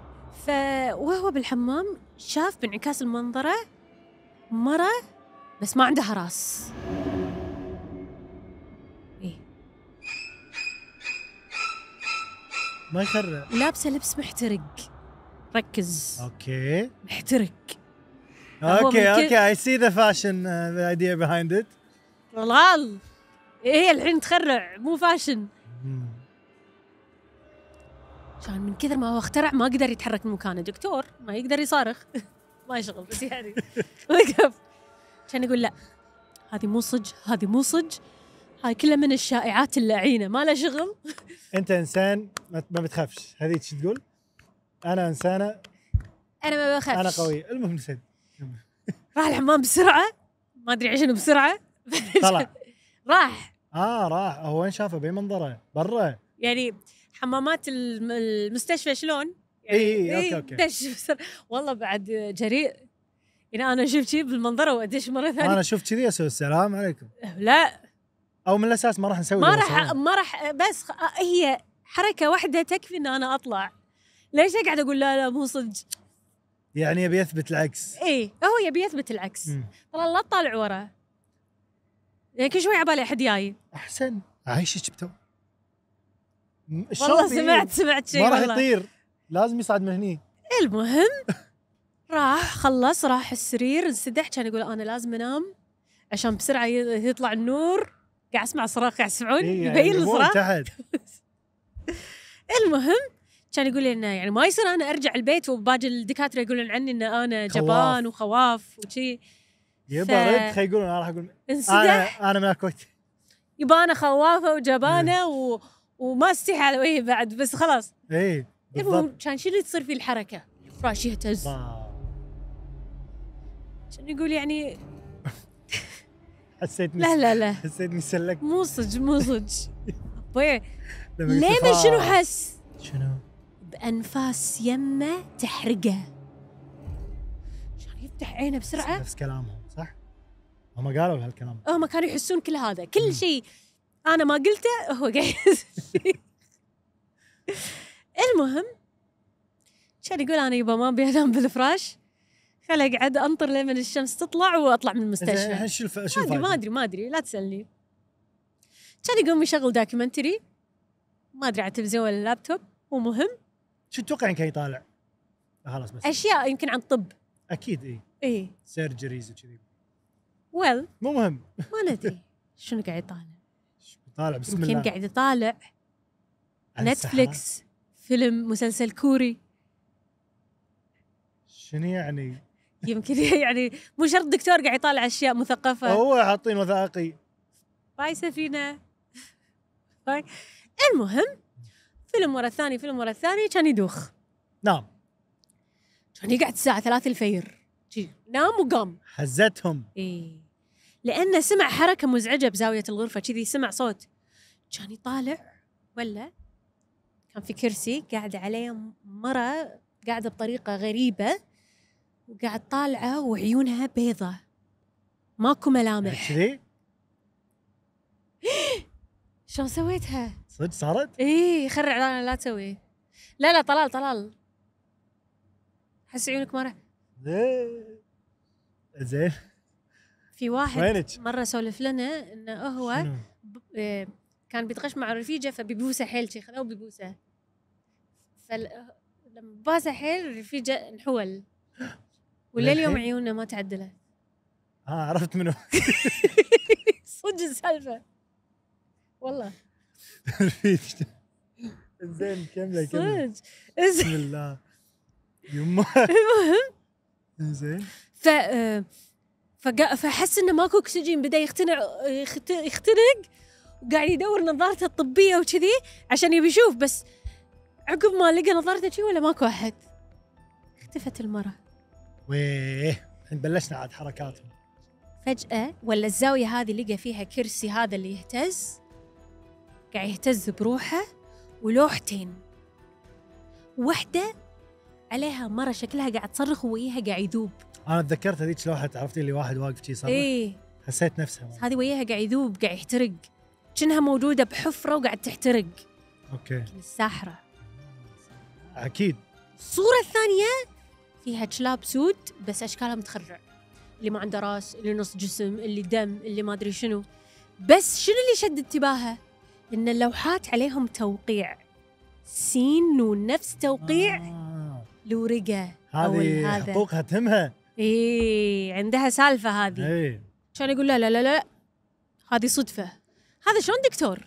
فوهو بالحمام شاف بانعكاس المنظرة مرة بس ما عندها راس إيه؟ ما يخرع لابسة لبس محترق ركز اوكي محترق هو اوكي ممكن- اوكي اي سي ذا فاشن ذا ايديا بيهايند ات الغال إيه هي الحين تخرع مو فاشن كان من كثر ما هو اخترع ما قدر يتحرك من مكانه دكتور ما يقدر يصارخ <laughs> ما يشغل بس يعني <laughs> وقف كان يقول لا هذه مو صج هذه مو صج هاي كلها من الشائعات اللعينه ما لها شغل انت انسان ما ما بتخافش هذيك شو تقول؟ انا انسانه انا ما بخافش انا قوي المهم <laughs> نسيت راح الحمام بسرعه ما ادري عشان بسرعه طلع راح اه راح هو وين شافه بين منظره <laughs> برا يعني حمامات الم- المستشفى شلون يعني إي إي، إيه، أوكي، أوكي. دش بسرعه والله بعد جريء يعني انا اشوف شيء بالمنظره وادش مره ثانيه انا اشوف كذي اسوي السلام عليكم <laughs> لا او من الاساس ما راح نسوي ما اللي راح وصلنا. ما راح بس خ- هي حركه واحده تكفي ان انا اطلع ليش اقعد اقول لا لا مو صدق يعني يبي يثبت العكس اي هو يبي يثبت العكس مم. طلع لا تطالع ورا يعني كل شوي عبالي احد جاي احسن عايشك بتو م- والله شلون في إيه؟ سمعت سمعت شيء ما راح والله. يطير لازم يصعد من هني المهم راح خلص راح السرير انسدح كان يقول انا لازم انام عشان بسرعه ي- يطلع النور قاعد اسمع صراخ قاعد يسمعون إيه، يعني يبين مو الصراخ تحت المهم كان يقول لي انه يعني ما يصير انا ارجع البيت وباقي الدكاتره يقولون عني ان انا خواف. جبان وخواف وشي يبا رد خي يقولون انا راح اقول انسدح انا انا من الكويت يبقى انا خوافه إيه. وجبانه و... وما استحي على وجهي بعد بس خلاص اي المهم إيه، بالضبط كان شنو تصير في الحركه؟ الفراش يهتز واو. كان يقول يعني حسيتني لا لا لا حسيتني سلك مو صج <laughs> مو طيب. صج أبوي، لما قلت ليه ما فا- شنو حس؟ شنو؟ بانفاس يمه تحرقه عشان يفتح عينه بسرعه نفس كلامهم صح؟ هم قالوا هالكلام هم كانوا يحسون كل هذا كل مم. شيء انا ما قلته هو قاعد يحس فيه. <laughs> المهم كان يقول انا يبا ما ابي انام بالفراش خل اقعد انطر لين الشمس تطلع واطلع من زين، المستشفى الحين شو الف- شو ما ادري الفائدة؟ ما ادري ما ادري لا تسالني كان يقوم يشغل دوكيومنتري ما ادري على التلفزيون ولا اللابتوب مو مهم شو تتوقع كان يطالع؟ خلاص بس اشياء يمكن عن طب اكيد اي ايه سيرجريز وكذي ويل مو مهم <laughs> ما ندري <laughs> شنو قاعد يطالع طالع بسم يمكن الله قاعد يطالع على السحرة. نتفليكس فيلم مسلسل كوري شنو يعني؟ يمكن <laughs> يعني مو شرط دكتور قاعد يطالع اشياء مثقفه هو حاطين وثائقي باي سفينه باي المهم فيلم ورا الثاني فيلم ورا الثاني كان يدوخ نعم كان يقعد الساعه 3 الفير جي. نام وقام حزتهم ايه لانه سمع حركه مزعجه بزاويه الغرفه كذي سمع صوت كان يطالع ولا كان في كرسي قاعده عليه مره قاعده بطريقه غريبه وقاعد طالعه وعيونها بيضة ماكو ملامح كذي شلون سويتها؟ صدق صارت؟ ايه خرع لا لا تسوي لا لا طلال طلال حس عيونك مره إيه. زين في واحد وينك؟ مره سولف لنا انه هو شنو؟ ب... آه، كان بيتغش مع رفيجه فبيبوسه حيل شي خذوه بيبوسه فلما باسه حيل رفيجه انحول ولليوم للحين؟ عيونه ما تعدلت ها آه، عرفت منو <laughs> صدق السالفه والله رفيجته زين كمله كمله صدق إز- بسم الله <laughs> يما زين ف آه، فقا- فحس انه ماكو اكسجين بدا يختنع يخت- يختنق وقاعد يدور نظارته الطبيه وكذي عشان يبي يشوف بس عقب ما لقى نظارته شي ولا ماكو احد اختفت المراه ويه الحين بلشنا عاد حركاتهم فجأة ولا الزاوية هذه لقى فيها كرسي هذا اللي يهتز قاعد يهتز بروحه ولوحتين واحدة عليها مرة شكلها قاعد تصرخ وويها قاعد يذوب انا تذكرت هذيك لوحه عرفتي اللي واحد واقف شي صار ايه حسيت نفسها هذه وياها قاعد يذوب قاعد يحترق كأنها موجودة بحفرة وقاعد تحترق اوكي الساحرة اكيد الصورة الثانية فيها كلاب سود بس أشكالها متخرع اللي ما عنده راس اللي نص جسم اللي دم اللي ما أدري شنو بس شنو اللي شد انتباهه إن اللوحات عليهم توقيع سين ونفس توقيع آه. لورقة أو هذه هذا. حقوقها تهمها إيه. إيه عندها سالفة هذه اي كان يقول لا لا لا لا هذه صدفة هذا شلون دكتور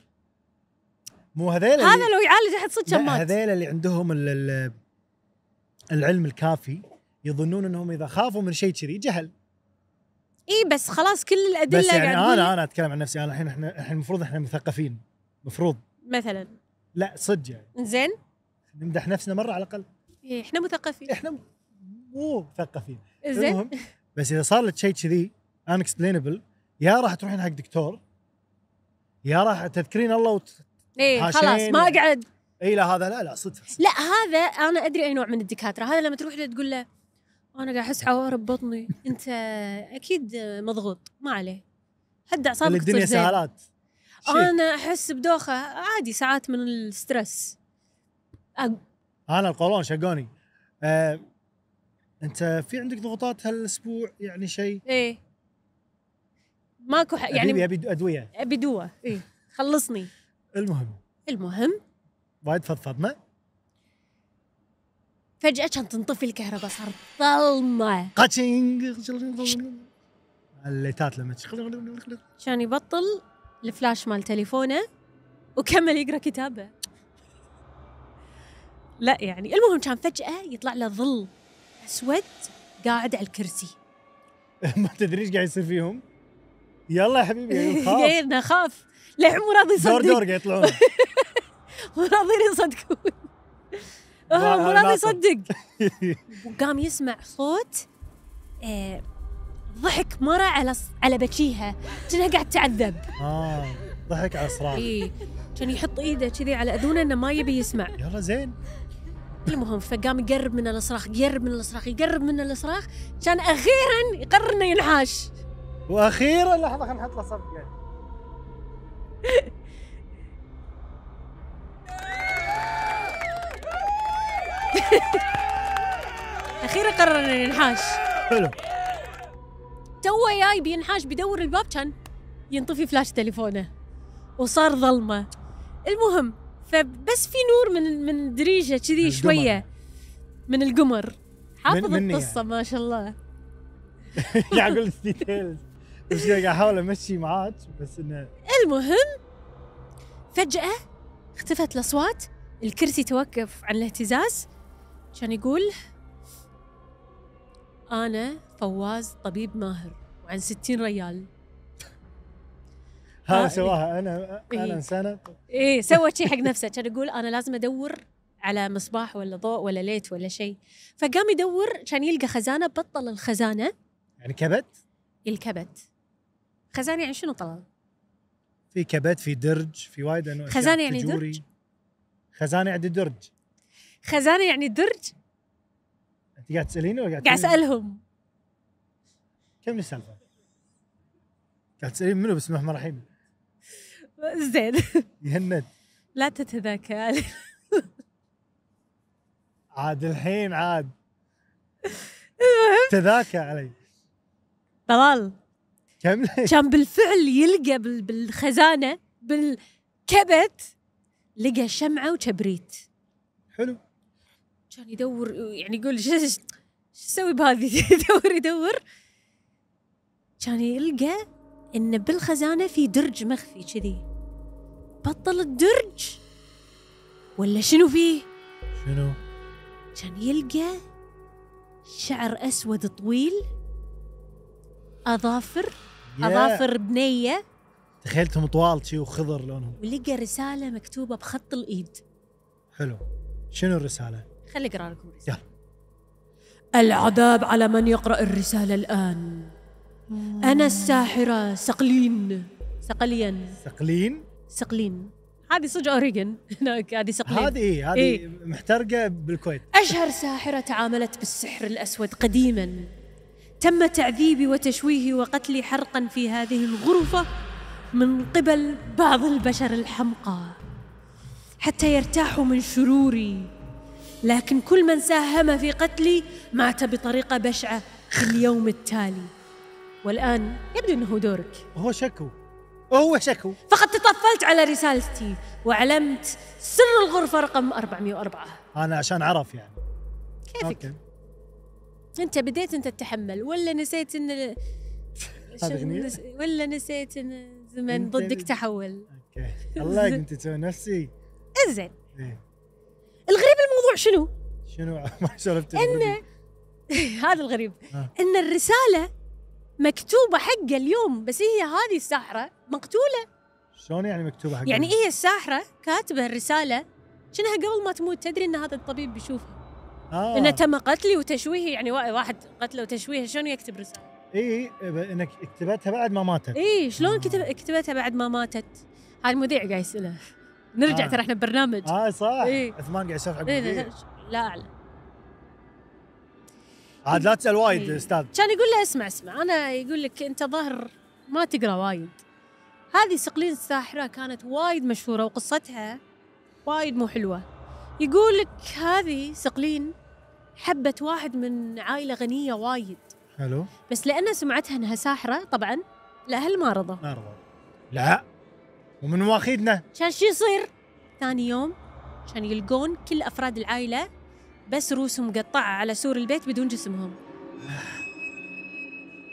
مو هذيل هذا لو يعالج أحد صدق كان لا مات هذيل اللي عندهم ال- ال- العلم الكافي يظنون انهم اذا خافوا من شيء كذي جهل إيه بس خلاص كل الأدلة بس يعني قاعد تقول- انا انا اتكلم عن نفسي انا الحين احنا الحين المفروض احنا مثقفين مفروض مثلا لا صدق يعني زين نمدح نفسنا مره على الاقل إيه إحنا مثقفين احنا م- مو مثقفين زين المهم، بس اذا صار لك شيء كذي ان اكسبلينبل يا راح تروحين حق دكتور يا راح تذكرين الله وت... ايه حاشين خلاص ما يعني. اقعد اي لا هذا لا لا صدفه صدفة. لا هذا انا ادري اي نوع من الدكاتره هذا لما تروح له تقول له انا قاعد احس عوارب بطني انت اكيد مضغوط ما عليه هدى اللي اعصابك تصير الدنيا زين. سهالات شيء. انا احس بدوخه عادي ساعات من الستريس انا القولون شقوني آه، انت في عندك ضغوطات هالاسبوع يعني شيء ايه ماكو ح- يعني يعني ابي ادويه ابي دواء ايه خلصني المهم المهم وايد فضفضنا فجاه كان تنطفي الكهرباء صار ظلمه قاتشينج الليتات لما تش- كان يبطل الفلاش مال تليفونه وكمل يقرا كتابه لا يعني المهم كان فجأة يطلع له ظل أسود قاعد على الكرسي <laughs> ما تدري ايش قاعد يصير فيهم يلا يا <laughs> حبيبي يلا <laughs> خلاص. قاعد أخاف للحين مو راضي دور دور يصدق قاعد <laughs> يطلعون <laughs> مو راضيين يصدقون هو مو أنا راضي ناطر. يصدق <laughs> وقام يسمع صوت آه، ضحك مرة على على بكيها كأنها قاعد تعذب اه ضحك على صراخ اي كان يحط ايده كذي على اذونه انه ما يبي يسمع يلا زين المهم فقام يقرب من الصراخ يقرب من الصراخ يقرب من الصراخ كان اخيرا يقرر انه ينحاش واخيرا لحظه خلينا نحط له صفقه اخيرا قرر انه ينحاش حلو <laughs> توه جاي بينحاش بيدور الباب كان ينطفي فلاش تليفونه وصار ظلمه المهم فبس في نور من من الدريشه كذي القمر. شويه من القمر حافظ مني القصه ما شاء الله قاعد اقول لك ديتيلز بس قاعد احاول امشي معاك بس انه المهم فجأة اختفت الأصوات الكرسي توقف عن الاهتزاز كان يقول أنا فواز طبيب ماهر وعن 60 ريال هذا آه، سواها انا إيه. انا انسانه إيه سوى شي حق نفسه كان يقول أنا لازم أدور على مصباح ولا ضوء ولا ليت ولا شيء فقام يدور كان يلقى خزانة بطل الخزانة يعني كبت الكبت خزانة يعني شنو طلال؟ في كبت في درج في وايد انواع خزانة أشياء، يعني تجوري. درج؟ خزانه يعني درج خزانة يعني درج انت قاعد تساليني ولا قاعد قاعد تسأليني؟ أسألهم كم السالفه؟ قاعد تسالين منو بسم الله الرحمن الرحيم؟ زين <laughs> يهند لا تتذاكى عاد الحين عاد تذاكى علي طلال كملي كان بالفعل يلقى بال- بالخزانه بالكبت لقى شمعه وكبريت حلو كان يدور يعني يقول شو شو اسوي بهذه <laughs> يدور يدور كان يلقى ان بالخزانه في درج مخفي كذي بطل الدرج ولا شنو فيه شنو كان يلقى شعر اسود طويل اظافر يا. اظافر بنيه تخيلتهم طوال شي وخضر لونهم ولقى رساله مكتوبه بخط الايد حلو شنو الرساله خلي اقرا لكم الرسالة. يلا. العذاب على من يقرا الرساله الان انا الساحره سقلين سقليا ثقلين إيه. سقلين هذه صج <laughs> اوريجن هناك هذه سقلين هذه اي هذه إيه. محترقه بالكويت أشهر ساحرة تعاملت بالسحر الأسود قديما تم تعذيبي وتشويهي وقتلي حرقا في هذه الغرفة من قبل بعض البشر الحمقى حتى يرتاحوا من شروري لكن كل من ساهم في قتلي مات بطريقة بشعة في اليوم التالي والآن يبدو أنه دورك هو شكو هو شكو فقد تطفلت على رسالتي وعلمت سر الغرفة رقم 404 انا عشان عرف يعني كيفك انت بديت انت تتحمل ولا نسيت ان شو- أغنية؟ نس- ولا نسيت ان الزمن انت- ضدك تحول اوكي <laughs> الله كنت تسوي نفسي انزين إيه. الغريب الموضوع شنو؟ <laughs> شنو <laughs> ما سولفت انه هذا الغريب آه. ان الرساله مكتوبه حقه اليوم بس هي هذه الساحره مقتوله شلون يعني مكتوبه حق يعني هي الساحره كاتبه الرساله شنها قبل ما تموت تدري ان هذا الطبيب بيشوفها آه. انه تم قتلي وتشويهي يعني وا- واحد قتله وتشويهه شلون يكتب رساله؟ اي انك كتبتها بعد ما ماتت ايه شلون كتب كتبتها بعد ما ماتت؟ هذا المذيع قاعد يساله نرجع آه. ترى احنا ببرنامج اه صح إيه. عثمان قاعد يسولف حق إيه، المدير. لا اعلم عاد لا تسال وايد إيه. استاذ كان يقول له اسمع اسمع انا يقول لك انت ظهر ما تقرا وايد هذه سقلين الساحره كانت وايد مشهوره وقصتها وايد مو حلوه يقول لك هذه سقلين حبت واحد من عائله غنيه وايد حلو بس لان سمعتها انها ساحره طبعا الاهل ما رضوا ما رضى لا ومن واخيدنا كان شو يصير؟ ثاني يوم كان يلقون كل افراد العائله بس رؤوسهم مقطعه على سور البيت بدون جسمهم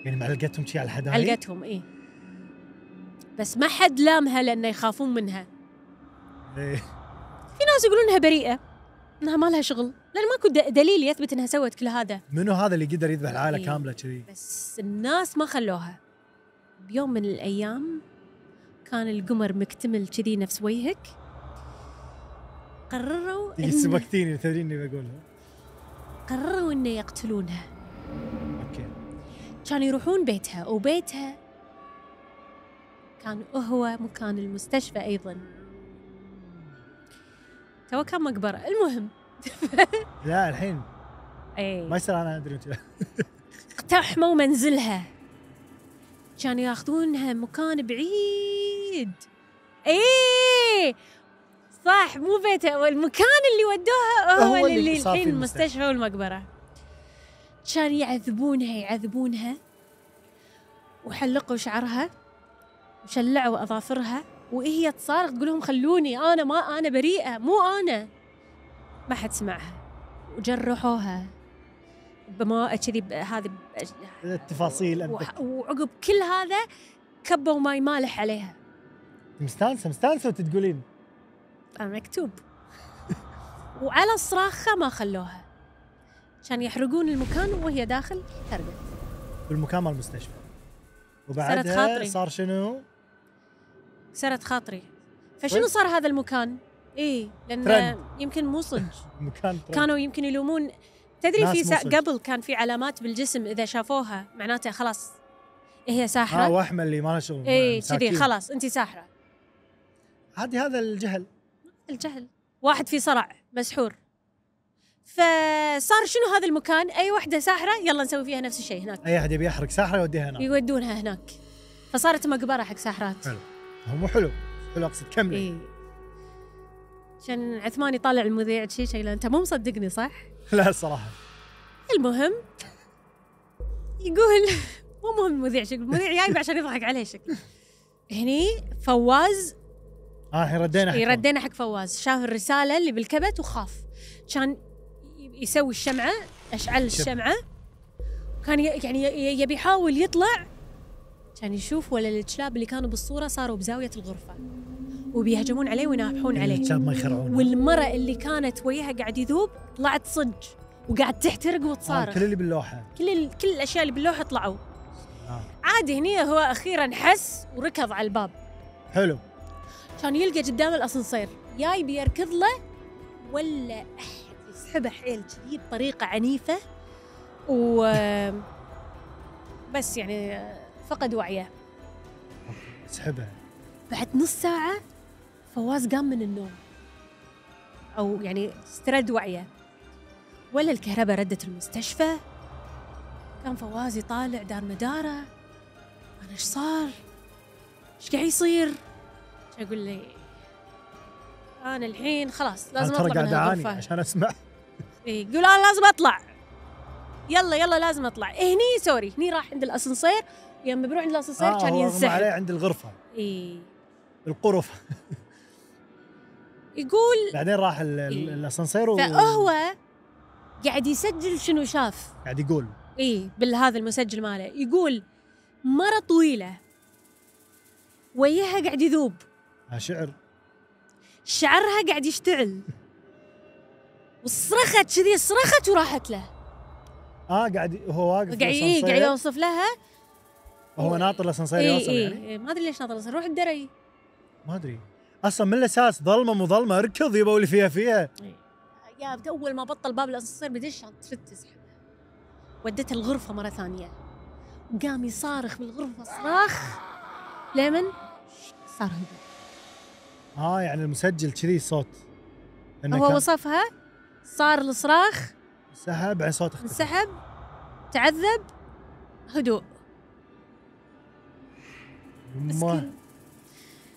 يعني معلقتهم شي على الحدايق علقتهم ايه بس ما حد لامها لانه يخافون منها إيه. في ناس يقولون انها بريئه انها ما لها شغل لان ماكو د- دليل يثبت انها سوت كل هذا منو هذا اللي قدر يذبح العائله إيه. كامله <laughs> كذي بس الناس ما خلوها بيوم من الأيام كان القمر مكتمل كذي نفس وجهك قرروا دقيقة إن سبكتيني تدرين اني بقولها قرروا انه يقتلونها اوكي كانوا يروحون بيتها وبيتها كان هو مكان المستشفى ايضا تو كان مقبره المهم لا الحين اي ما يصير انا ادري وأنت- اقتحموا منزلها كانوا ياخذونها مكان بعيد ايه صح مو بيتها والمكان اللي ودوها هو, هو اللي اللي صار فيه الحين المستشفى. المستشفى والمقبره كان يعذبونها يعذبونها وحلقوا شعرها وشلعوا اظافرها وهي تصارخ تقول لهم خلوني انا ما انا بريئه مو انا ما حد سمعها وجرحوها بما كذي ب- هذه ب- التفاصيل أبد. وح- وعقب كل هذا كبوا ماي مالح عليها مستانسه مستانسه وانت تقولين آه، <laughs> مكتوب وعلى صراخها ما خلوها عشان يحرقون المكان وهي داخل حرقت بالمكان مال المستشفى خاطري. وبعدها صار شنو؟ كسرت خاطري فشنو طيب. صار هذا المكان؟ ايه لان ترند. يمكن مو <laughs> صدق مكان كانوا يمكن يلومون تدري ناس في مو سا... صدق. قبل كان في علامات بالجسم اذا شافوها معناته خلاص إيه هي ها ساحره واحمل اللي آه، ما له شغل اي مساكين. إيه، كذي خلاص انت ساحره عادي هذا الجهل الجهل واحد في صرع مسحور فصار شنو هذا المكان اي وحده ساحره يلا نسوي فيها نفس الشيء هناك اي احد يبي يحرق ساحره يوديها هناك يودونها هناك فصارت مقبره حق ساحرات إيه. حلو. هو مو حلو حلو اقصد كملي <laughs> اي عشان عثمان يطالع المذيع شي شي لأن انت مو مصدقني صح لا الصراحه المهم يقول <laughs> مو مهم المذيع شكل المذيع جايب عشان يضحك عليه شكل هني فواز اه الحين ردينا حق إي، ردينا حق فواز شاف الرسالة اللي بالكبت وخاف كان ي- يسوي الشمعة أشعل الشمعة كان ي- يعني ي- ي- يبي يحاول يطلع كان يشوف ولا الكلاب اللي كانوا بالصورة صاروا بزاوية الغرفة وبيهجمون عليه وينابحون عليه الشباب إيه، ما يخرعون والمرأة اللي كانت وياها قاعد يذوب طلعت صج وقاعد تحترق آه، وتصارخ كل اللي باللوحه كل ال- كل الاشياء اللي باللوحه طلعوا آه. عادي هني هو اخيرا حس وركض على الباب حلو كان يلقى قدام الاسانسير يا يبي يركض له ولا احد يسحبه حيل كذي بطريقه عنيفه و <laughs> بس يعني فقد وعيه سحبها بعد نص ساعة فواز قام من النوم أو يعني استرد وعيه ولا الكهرباء ردت المستشفى كان فواز يطالع دار مداره أنا إيش صار؟ إيش قاعد يصير؟ أقول لي أنا الحين خلاص انا لازم ترى أطلع من قاعد اعاني الغرفة عشان اسمع إيه، يقول أنا لازم أطلع يلا يلا لازم أطلع إيه، هني سوري هني راح عند الأسانسير يوم بروح عند الأسانسير آه، كان هو أغمى ينسحب عليه عند الغرفه إيه <laughs> القرف يقول بعدين راح ال- ال- إي. الاسانسير و- إيه. فهو قاعد يسجل شنو شاف قاعد يقول اي بالهذا المسجل ماله يقول مره طويله وياها قاعد يذوب آه، شعر شعرها قاعد يشتعل وصرخت كذي صرخت وراحت له اه قاعد هو واقف قاعد إيه بالأسانسير. قاعد يوصف لها هو ناطر الاسانسير اي يوصل اي يعني إيه ما ادري ليش ناطر روح الدري ما ادري اصلا من الاساس ظلمه مظلمه اركض يبا اللي فيها فيها يا اول ما بطل باب الاسانسير بدش تفت تسحبها ودته الغرفه مره ثانيه وقام يصارخ بالغرفه صراخ لمن صار هدوء اه يعني المسجل كذي صوت انه هو كان وصفها صار الصراخ سحب عن صوت اختفى انسحب تعذب هدوء ما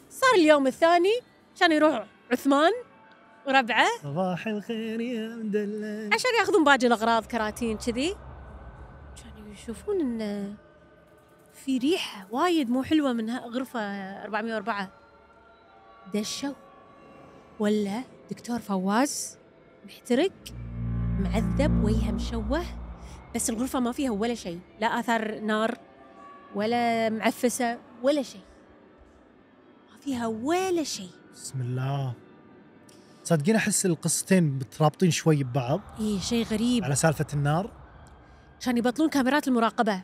صار اليوم الثاني كان يروح عثمان وربعه صباح الخير يا مدلل عشان ياخذون باقي الاغراض كراتين كذي كانوا يشوفون ان في ريحه وايد مو حلوه من ها- غرفه 404 دشوا ولا دكتور فواز محترق معذب وجهه مشوه بس الغرفه ما فيها ولا شيء لا اثار نار ولا معفسه ولا شيء ما فيها ولا شيء بسم الله صدقين احس القصتين مترابطين شوي ببعض ايه شيء غريب على سالفه النار عشان يبطلون كاميرات المراقبة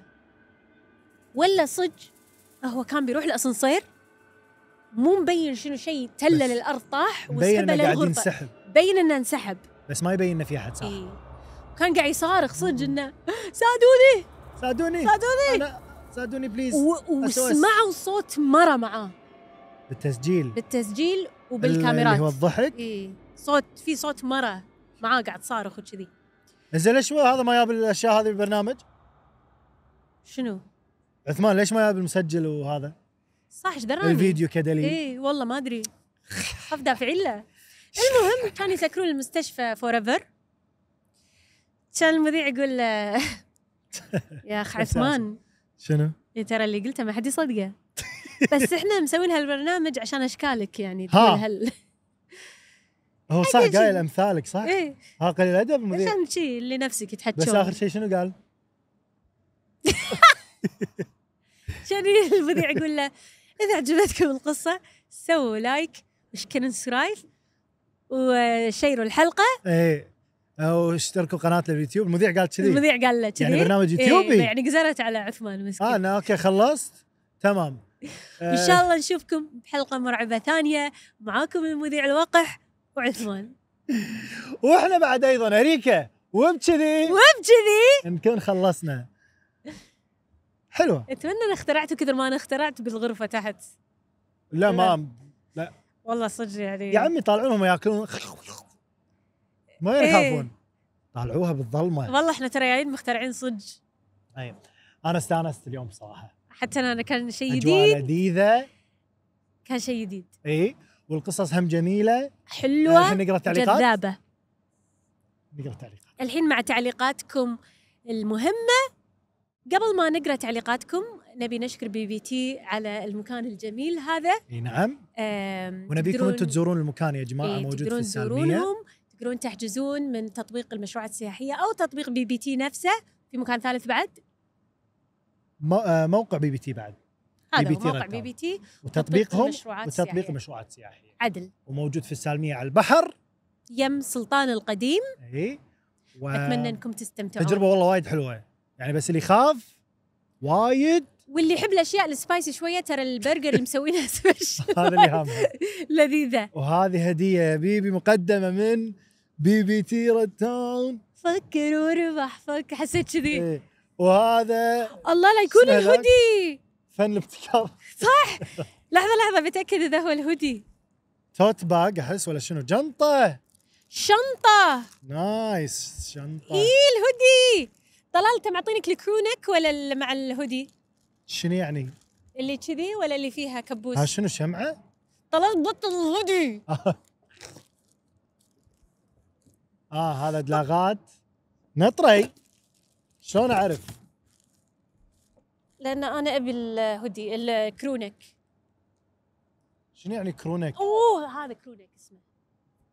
ولا صج هو كان بيروح الأسانسير مو مبين شنو شيء تلل بس الأرض طاح مبين وسحبه انه قاعد للغرفة ينسحب بين إنه انسحب بس ما يبين انه في احد صح إيه. وكان قاعد يصارخ صج إنه <laughs> ساعدوني ساعدوني ساعدوني. أنا- ساعدوني بليز و- SOS. وسمعوا صوت مرة معاه بالتسجيل بالتسجيل اللي هو وبالكاميرات الضحك إيه. صوت في صوت مرة معاه قاعد صارخ وكذي زين ليش هذا ما جاب الاشياء هذه بالبرنامج؟ شنو عثمان ليش ما جاب المسجل وهذا؟ صح ايش دراني الفيديو كدليل ايه والله ما ادري خاف دافعين له المهم كان يسكرون المستشفى فور ايفر كان المذيع يقول <laughs> له يا اخ عثمان شنو؟ يا ترى اللي قلته ما حد يصدقه بس احنا مسوين هالبرنامج عشان اشكالك يعني ها. تقول هال هو صح أدري. قايل امثالك صح؟ ايه ها قليل ادب المذيع عشان شي اللي نفسك بس تحتشون اخر شيء شنو قال؟ كان المذيع يقول له اذا عجبتكم القصه سووا لايك واشكروا سرايف وشيروا الحلقه ايه او اشتركوا قناه اليوتيوب المذيع قال كذي المذيع قال له كذي يعني برنامج إيه يوتيوبي يعني قزرت على عثمان مسكين اه انا اوكي خلصت <laughs> تمام ان شاء الله نشوفكم بحلقه مرعبه ثانيه معاكم المذيع الوقح وعثمان واحنا آه، بعد ايضا اريكا وبكذي <laughs> وبكذي نكون خلصنا حلوه اتمنى ان اخترعته كثر ما انا اخترعت بالغرفه تحت لا ما والله صدق يعني يا عمي طالعونهم وياكلون ما إيه. يخافون طالعوها <laughs> بالظلمه والله احنا ترى جايين مخترعين صدق أي. انا استانست اليوم بصراحه حتى انا كان شيء اجواء جديد لذيذه كان شيء جديد اي إيه. والقصص هم جميله حلوه الحين نقرا التعليقات جذابه نقرا التعليقات الحين مع تعليقاتكم المهمة قبل ما نقرا تعليقاتكم نبي نشكر بي بي تي على المكان الجميل هذا اي نعم أم، ونبيكم تقدرون- انتم تزورون المكان يا جماعه إيه، موجود في تقدرون السالميه تزورونهم تقدرون تحجزون من تطبيق المشروعات السياحية أو تطبيق بي بي تي نفسه في مكان ثالث بعد مو- آه، موقع بي بي تي بعد هذا بي بي هو تي موقع رد بي على. بي تي وتطبيقهم المشروعات وتطبيق السياحية. المشروعات السياحيه عدل وموجود في السالميه على البحر يم سلطان القديم اي و... أتمنى أنكم تستمتعون تجربه والله وايد حلوه يعني بس اللي يخاف وايد واللي يحب الأشياء السبايسي شوية ترى البرجر اللي <laughs> مسوينها سبيشل هذا اللي <laughs> هامه لذيذة وهذه هديه يا بيبي مقدمه من بي بي تي ريد تاون فكر واربح فك حسيت كذي إيه. وهذا الله لا يكون سلام. الهودي فن الابتكار لحظة لحظة بتأكد إذا هو الهودي توت باج احس ولا شنو جنطه شنطة نايس شنطه إي إيه، الهودي طلال أنت معطينك الكرونك ولا ال- مع الهودي شنو يعني؟ اللي كذي ولا اللي فيها ها كبوس شنو شمعه؟ طلال بطل الهودي <laughs> اه هذا دلاغات نطري شلون اعرف؟ لأن أنا أبي الهودي الكرونك شنو يعني كرونك؟ أوه هذا كرونك اسمه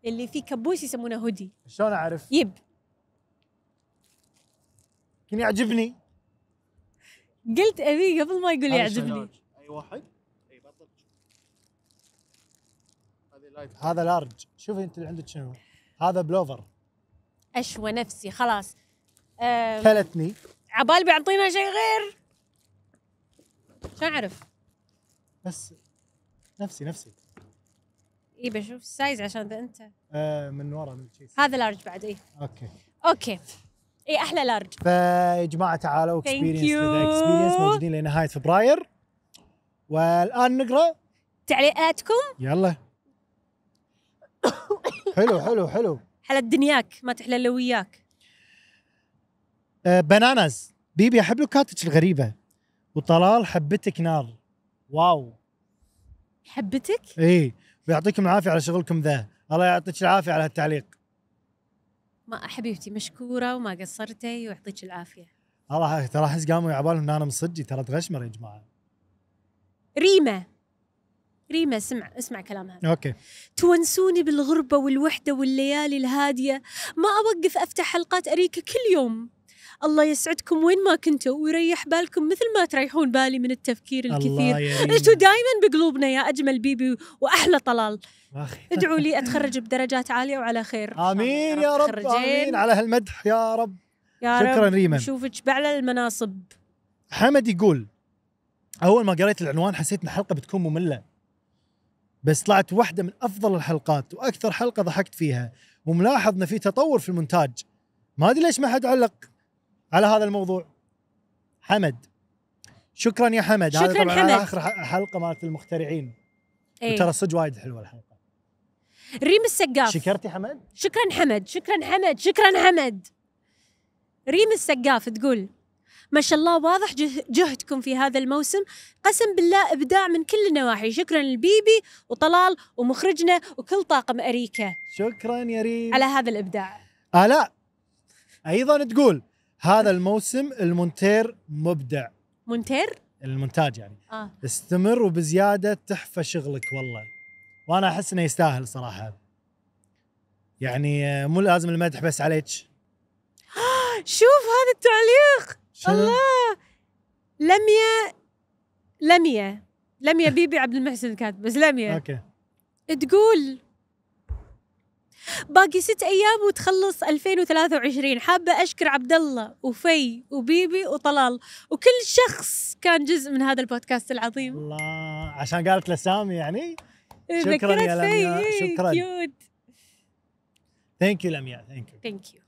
اللي فيه كبوس يسمونه هودي شلون اعرف؟ يب يمكن يعجبني قلت أبي قبل ما يقول هذا يعجبني شلون؟ اي واحد اي بطل هذه لايف هذا لارج شوفي انت اللي عندك شنو؟ هذا بلوفر أشوى نفسي خلاص أم، كلتني عبال بيعطينا شيء غير شلون اعرف؟ بس نفسي نفسي اي بشوف السايز عشان ذا انت آه من ورا من الشيس هذا لارج بعد اي اوكي اوكي اي احلى لارج فيا جماعه تعالوا Thank اكسبيرينس you. اكسبيرينس موجودين لنهايه فبراير والان نقرا تعليقاتكم يلا <coughs> حلو حلو حلو حلا دنياك ما تحلى الا وياك آه بناناز بيبي احب لوكاتك الغريبه وطلال حبتك نار واو حبتك اي ويعطيكم العافيه على شغلكم ذا الله يعطيك العافيه على هالتعليق ما حبيبتي مشكوره وما قصرتي ويعطيك العافيه الله ترى احس قاموا يعبالهم ان انا مصدي ترى تغشمر يا جماعه ريما ريما اسمع اسمع كلامها اوكي تونسوني بالغربة والوحدة والليالي الهادية ما أوقف أفتح حلقات أريكة كل يوم الله يسعدكم وين ما كنتوا ويريح بالكم مثل ما تريحون بالي من التفكير الله الكثير يا ريم. <laughs> انتوا دايما بقلوبنا يا اجمل بيبي واحلى طلال أخي. ادعوا لي اتخرج بدرجات عاليه وعلى خير إن شاء الله امين يا رب تتخرجين. امين على هالمدح يا رب يا شكراً رب ريما. نشوفك باعلى المناصب حمد يقول اول ما قريت العنوان حسيت ان الحلقه بتكون ممله بس طلعت واحده من افضل الحلقات واكثر حلقه ضحكت فيها وملاحظ ان في تطور في المونتاج ما ادري ليش ما حد علق على هذا الموضوع حمد شكرا يا حمد هذا شكراً طبعا حمد. على اخر ح- حلقه مالت المخترعين ايه. وترى صدق وايد حلوه الحلقه ريم السقاف شكرتي حمد شكرا حمد شكرا حمد شكرا حمد ريم السقاف تقول ما شاء الله واضح جه- جهدكم في هذا الموسم قسم بالله إبداع من كل النواحي شكرا لبيبي وطلال ومخرجنا وكل طاقم أريكة شكرا يا ريم على هذا الإبداع الاء ايضا تقول هذا الموسم المونتير مبدع منتر المونتاج يعني آه. استمر وبزياده تحفه شغلك والله وانا احس انه يستاهل صراحه يعني آه، مو لازم المدح بس عليك شوف هذا التعليق شنو؟ الله لمية لمية لمية بيبي عبد المحسن كاتب بس لمية اوكي تقول باقي ست ايام وتخلص 2023 حابه اشكر عبد الله وفي وبيبي وطلال وكل شخص كان جزء من هذا البودكاست العظيم الله عشان قالت لسامي يعني شكراً ذكرت يا لميا، إيه، شكراً. كيوت ثانك يو لمياء ثانك يو ثانك يو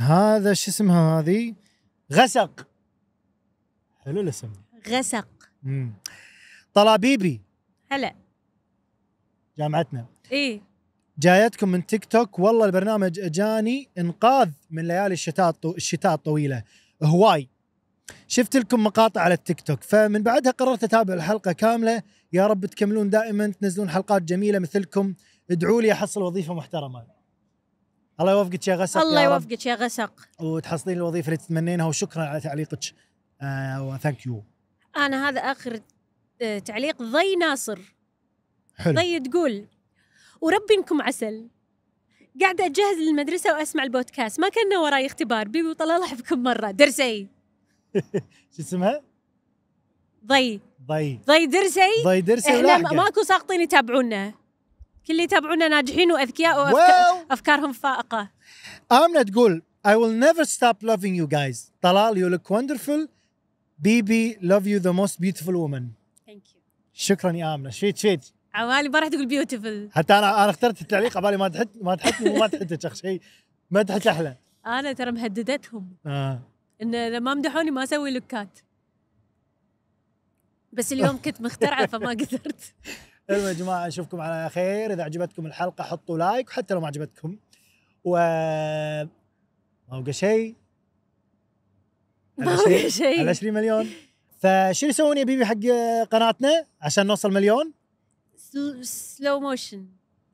هذا شو اسمها هذه غسق حلو الاسم غسق مم. طلابيبي هلا جامعتنا ايه جايتكم من تيك توك والله البرنامج اجاني انقاذ من ليالي الشتاء الطو... الشتاء الطويله هواي شفت لكم مقاطع على التيك توك فمن بعدها قررت اتابع الحلقه كامله يا رب تكملون دائما تنزلون حلقات جميله مثلكم ادعوا لي احصل وظيفه محترمه الله يوفقك يا غسق الله يا رب. يوفقك يا غسق وتحصلين الوظيفه اللي تتمنينها وشكرا على تعليقك آه وثانك يو انا هذا اخر آه، تعليق ضي ناصر حلو ضي تقول وربي انكم عسل قاعدة أجهز للمدرسة وأسمع البودكاست ما كان وراي اختبار بيبي وطلال الله يحبكم مرة درسي شو اسمها؟ ضي ضي ضي درسي ضي درسي احنا ولاحقة ما- ماكو ساقطين يتابعونا كل اللي يتابعونا ناجحين وأذكياء وأفكار واو أفكارهم فائقة آمنة تقول I will never stop loving you guys طلال you look wonderful بيبي love you the most beautiful woman ثانك يو شكرا يا آمنة شفيت شفيت عوالي ما راح تقول بيوتيفل حتى انا انا اخترت التعليق على بالي ما تحت ما تحتني وما تحتك اخ شيء ما تحت احلى أنا ترى مهددتهم آه. إن لما مدحوني ما أسوي لوكات بس اليوم <laughs> كنت مخترعة فما قدرت المهم يا جماعه اشوفكم على خير اذا عجبتكم الحلقه حطوا لايك وحتى لو ما عجبتكم و ما بقى شيء ما على بقى شيء- شيء. على 20 مليون فشنو يسوون يا بيبي حق قناتنا عشان نوصل مليون؟ سل- سلو موشن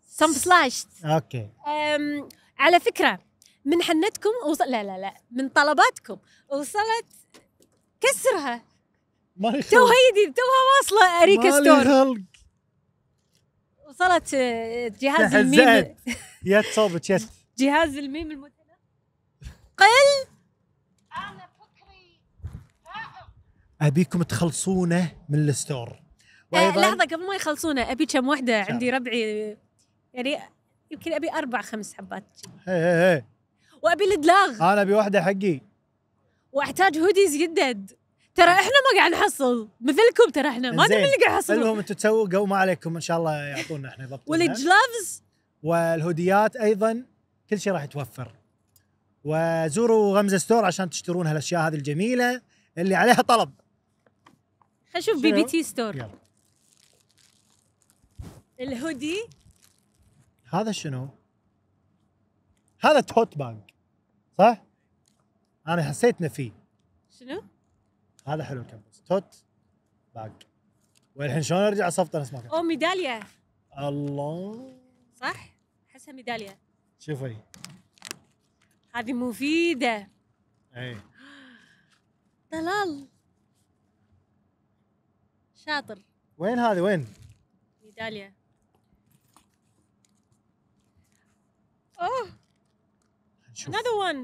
سم سلاش اوكي أم، على فكره من حنتكم وصل لا لا لا من طلباتكم وصلت كسرها مالي خلق تو هيدي توها واصله اريكا مالي ستور خلق وصلت أه، <laughs> جهاز الميم تهزأت يت صوبك يت جهاز الميم المتنقل ابيكم تخلصونه من الستور أه، وأيضاً- لحظه قبل ما يخلصونه ابي كم وحده شاف. عندي ربعي يعني يمكن ابي اربع خمس حبات هي هي هي. وابي الدلاغ انا ابي واحده حقي واحتاج هوديز جدد ترى احنا ما قاعد نحصل مثلكم ترى احنا ما ندري زين. من اللي قاعد يحصل المهم انتم تسوقوا ما عليكم ان شاء الله يعطونا احنا يضبطونا والجلافز والهوديات ايضا كل شيء راح يتوفر وزوروا غمزه ستور عشان تشترون هالاشياء هذه الجميله اللي عليها طلب خلينا نشوف بي شنو؟ بي تي ستور يلا. الهودي هذا شنو؟ هذا توت باج صح؟ انا حسيتنا فيه شنو؟ هذا حلو الكمبس توت باج والحين شلون ارجع اصفطه نفس ما كنت؟ او ميداليه الله صح؟ احسها ميداليه شوفي هذه مفيده اي طلال شاطر وين هذه وين؟ ميداليه اوه نشوف another one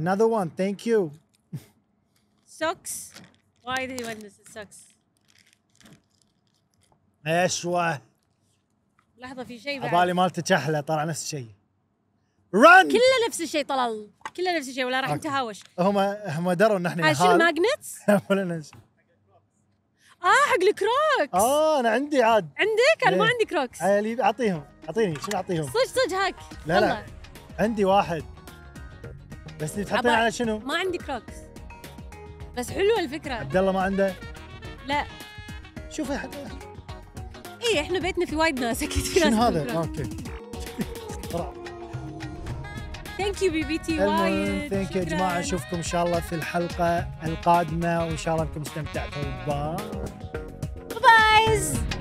another one thank you socks why do you want this socks اشوه لحظه في شيء بعد عبالي مالتك احلى طلع نفس الشيء رن كله نفس الشيء طلال كله نفس الشيء ولا راح أوكي. نتهاوش هم هم دروا ان احنا هذا شنو نحال. ماجنتس؟ <laughs> ولا نش- اه حق الكروكس اه انا عندي عاد عندك انا ما إيه. عندي كروكس عيالي اعطيهم اعطيني شنو اعطيهم صدق صدق هاك لا، لا. عندي واحد بس اللي تحطين عبا- على شنو؟ ما عندي كروكس بس حلوه الفكره عبد الله ما عنده لا شوفي حد- اي احنا بيتنا في وايد ناس اكيد في ناس شنو هذا؟ آه. اوكي <laughs> طلع. ثانك يو بي بي تي المهم وايد ثانك يا شكراً. جماعه نشوفكم ان شاء الله في الحلقه القادمه وان شاء الله انكم استمتعتوا باي بايز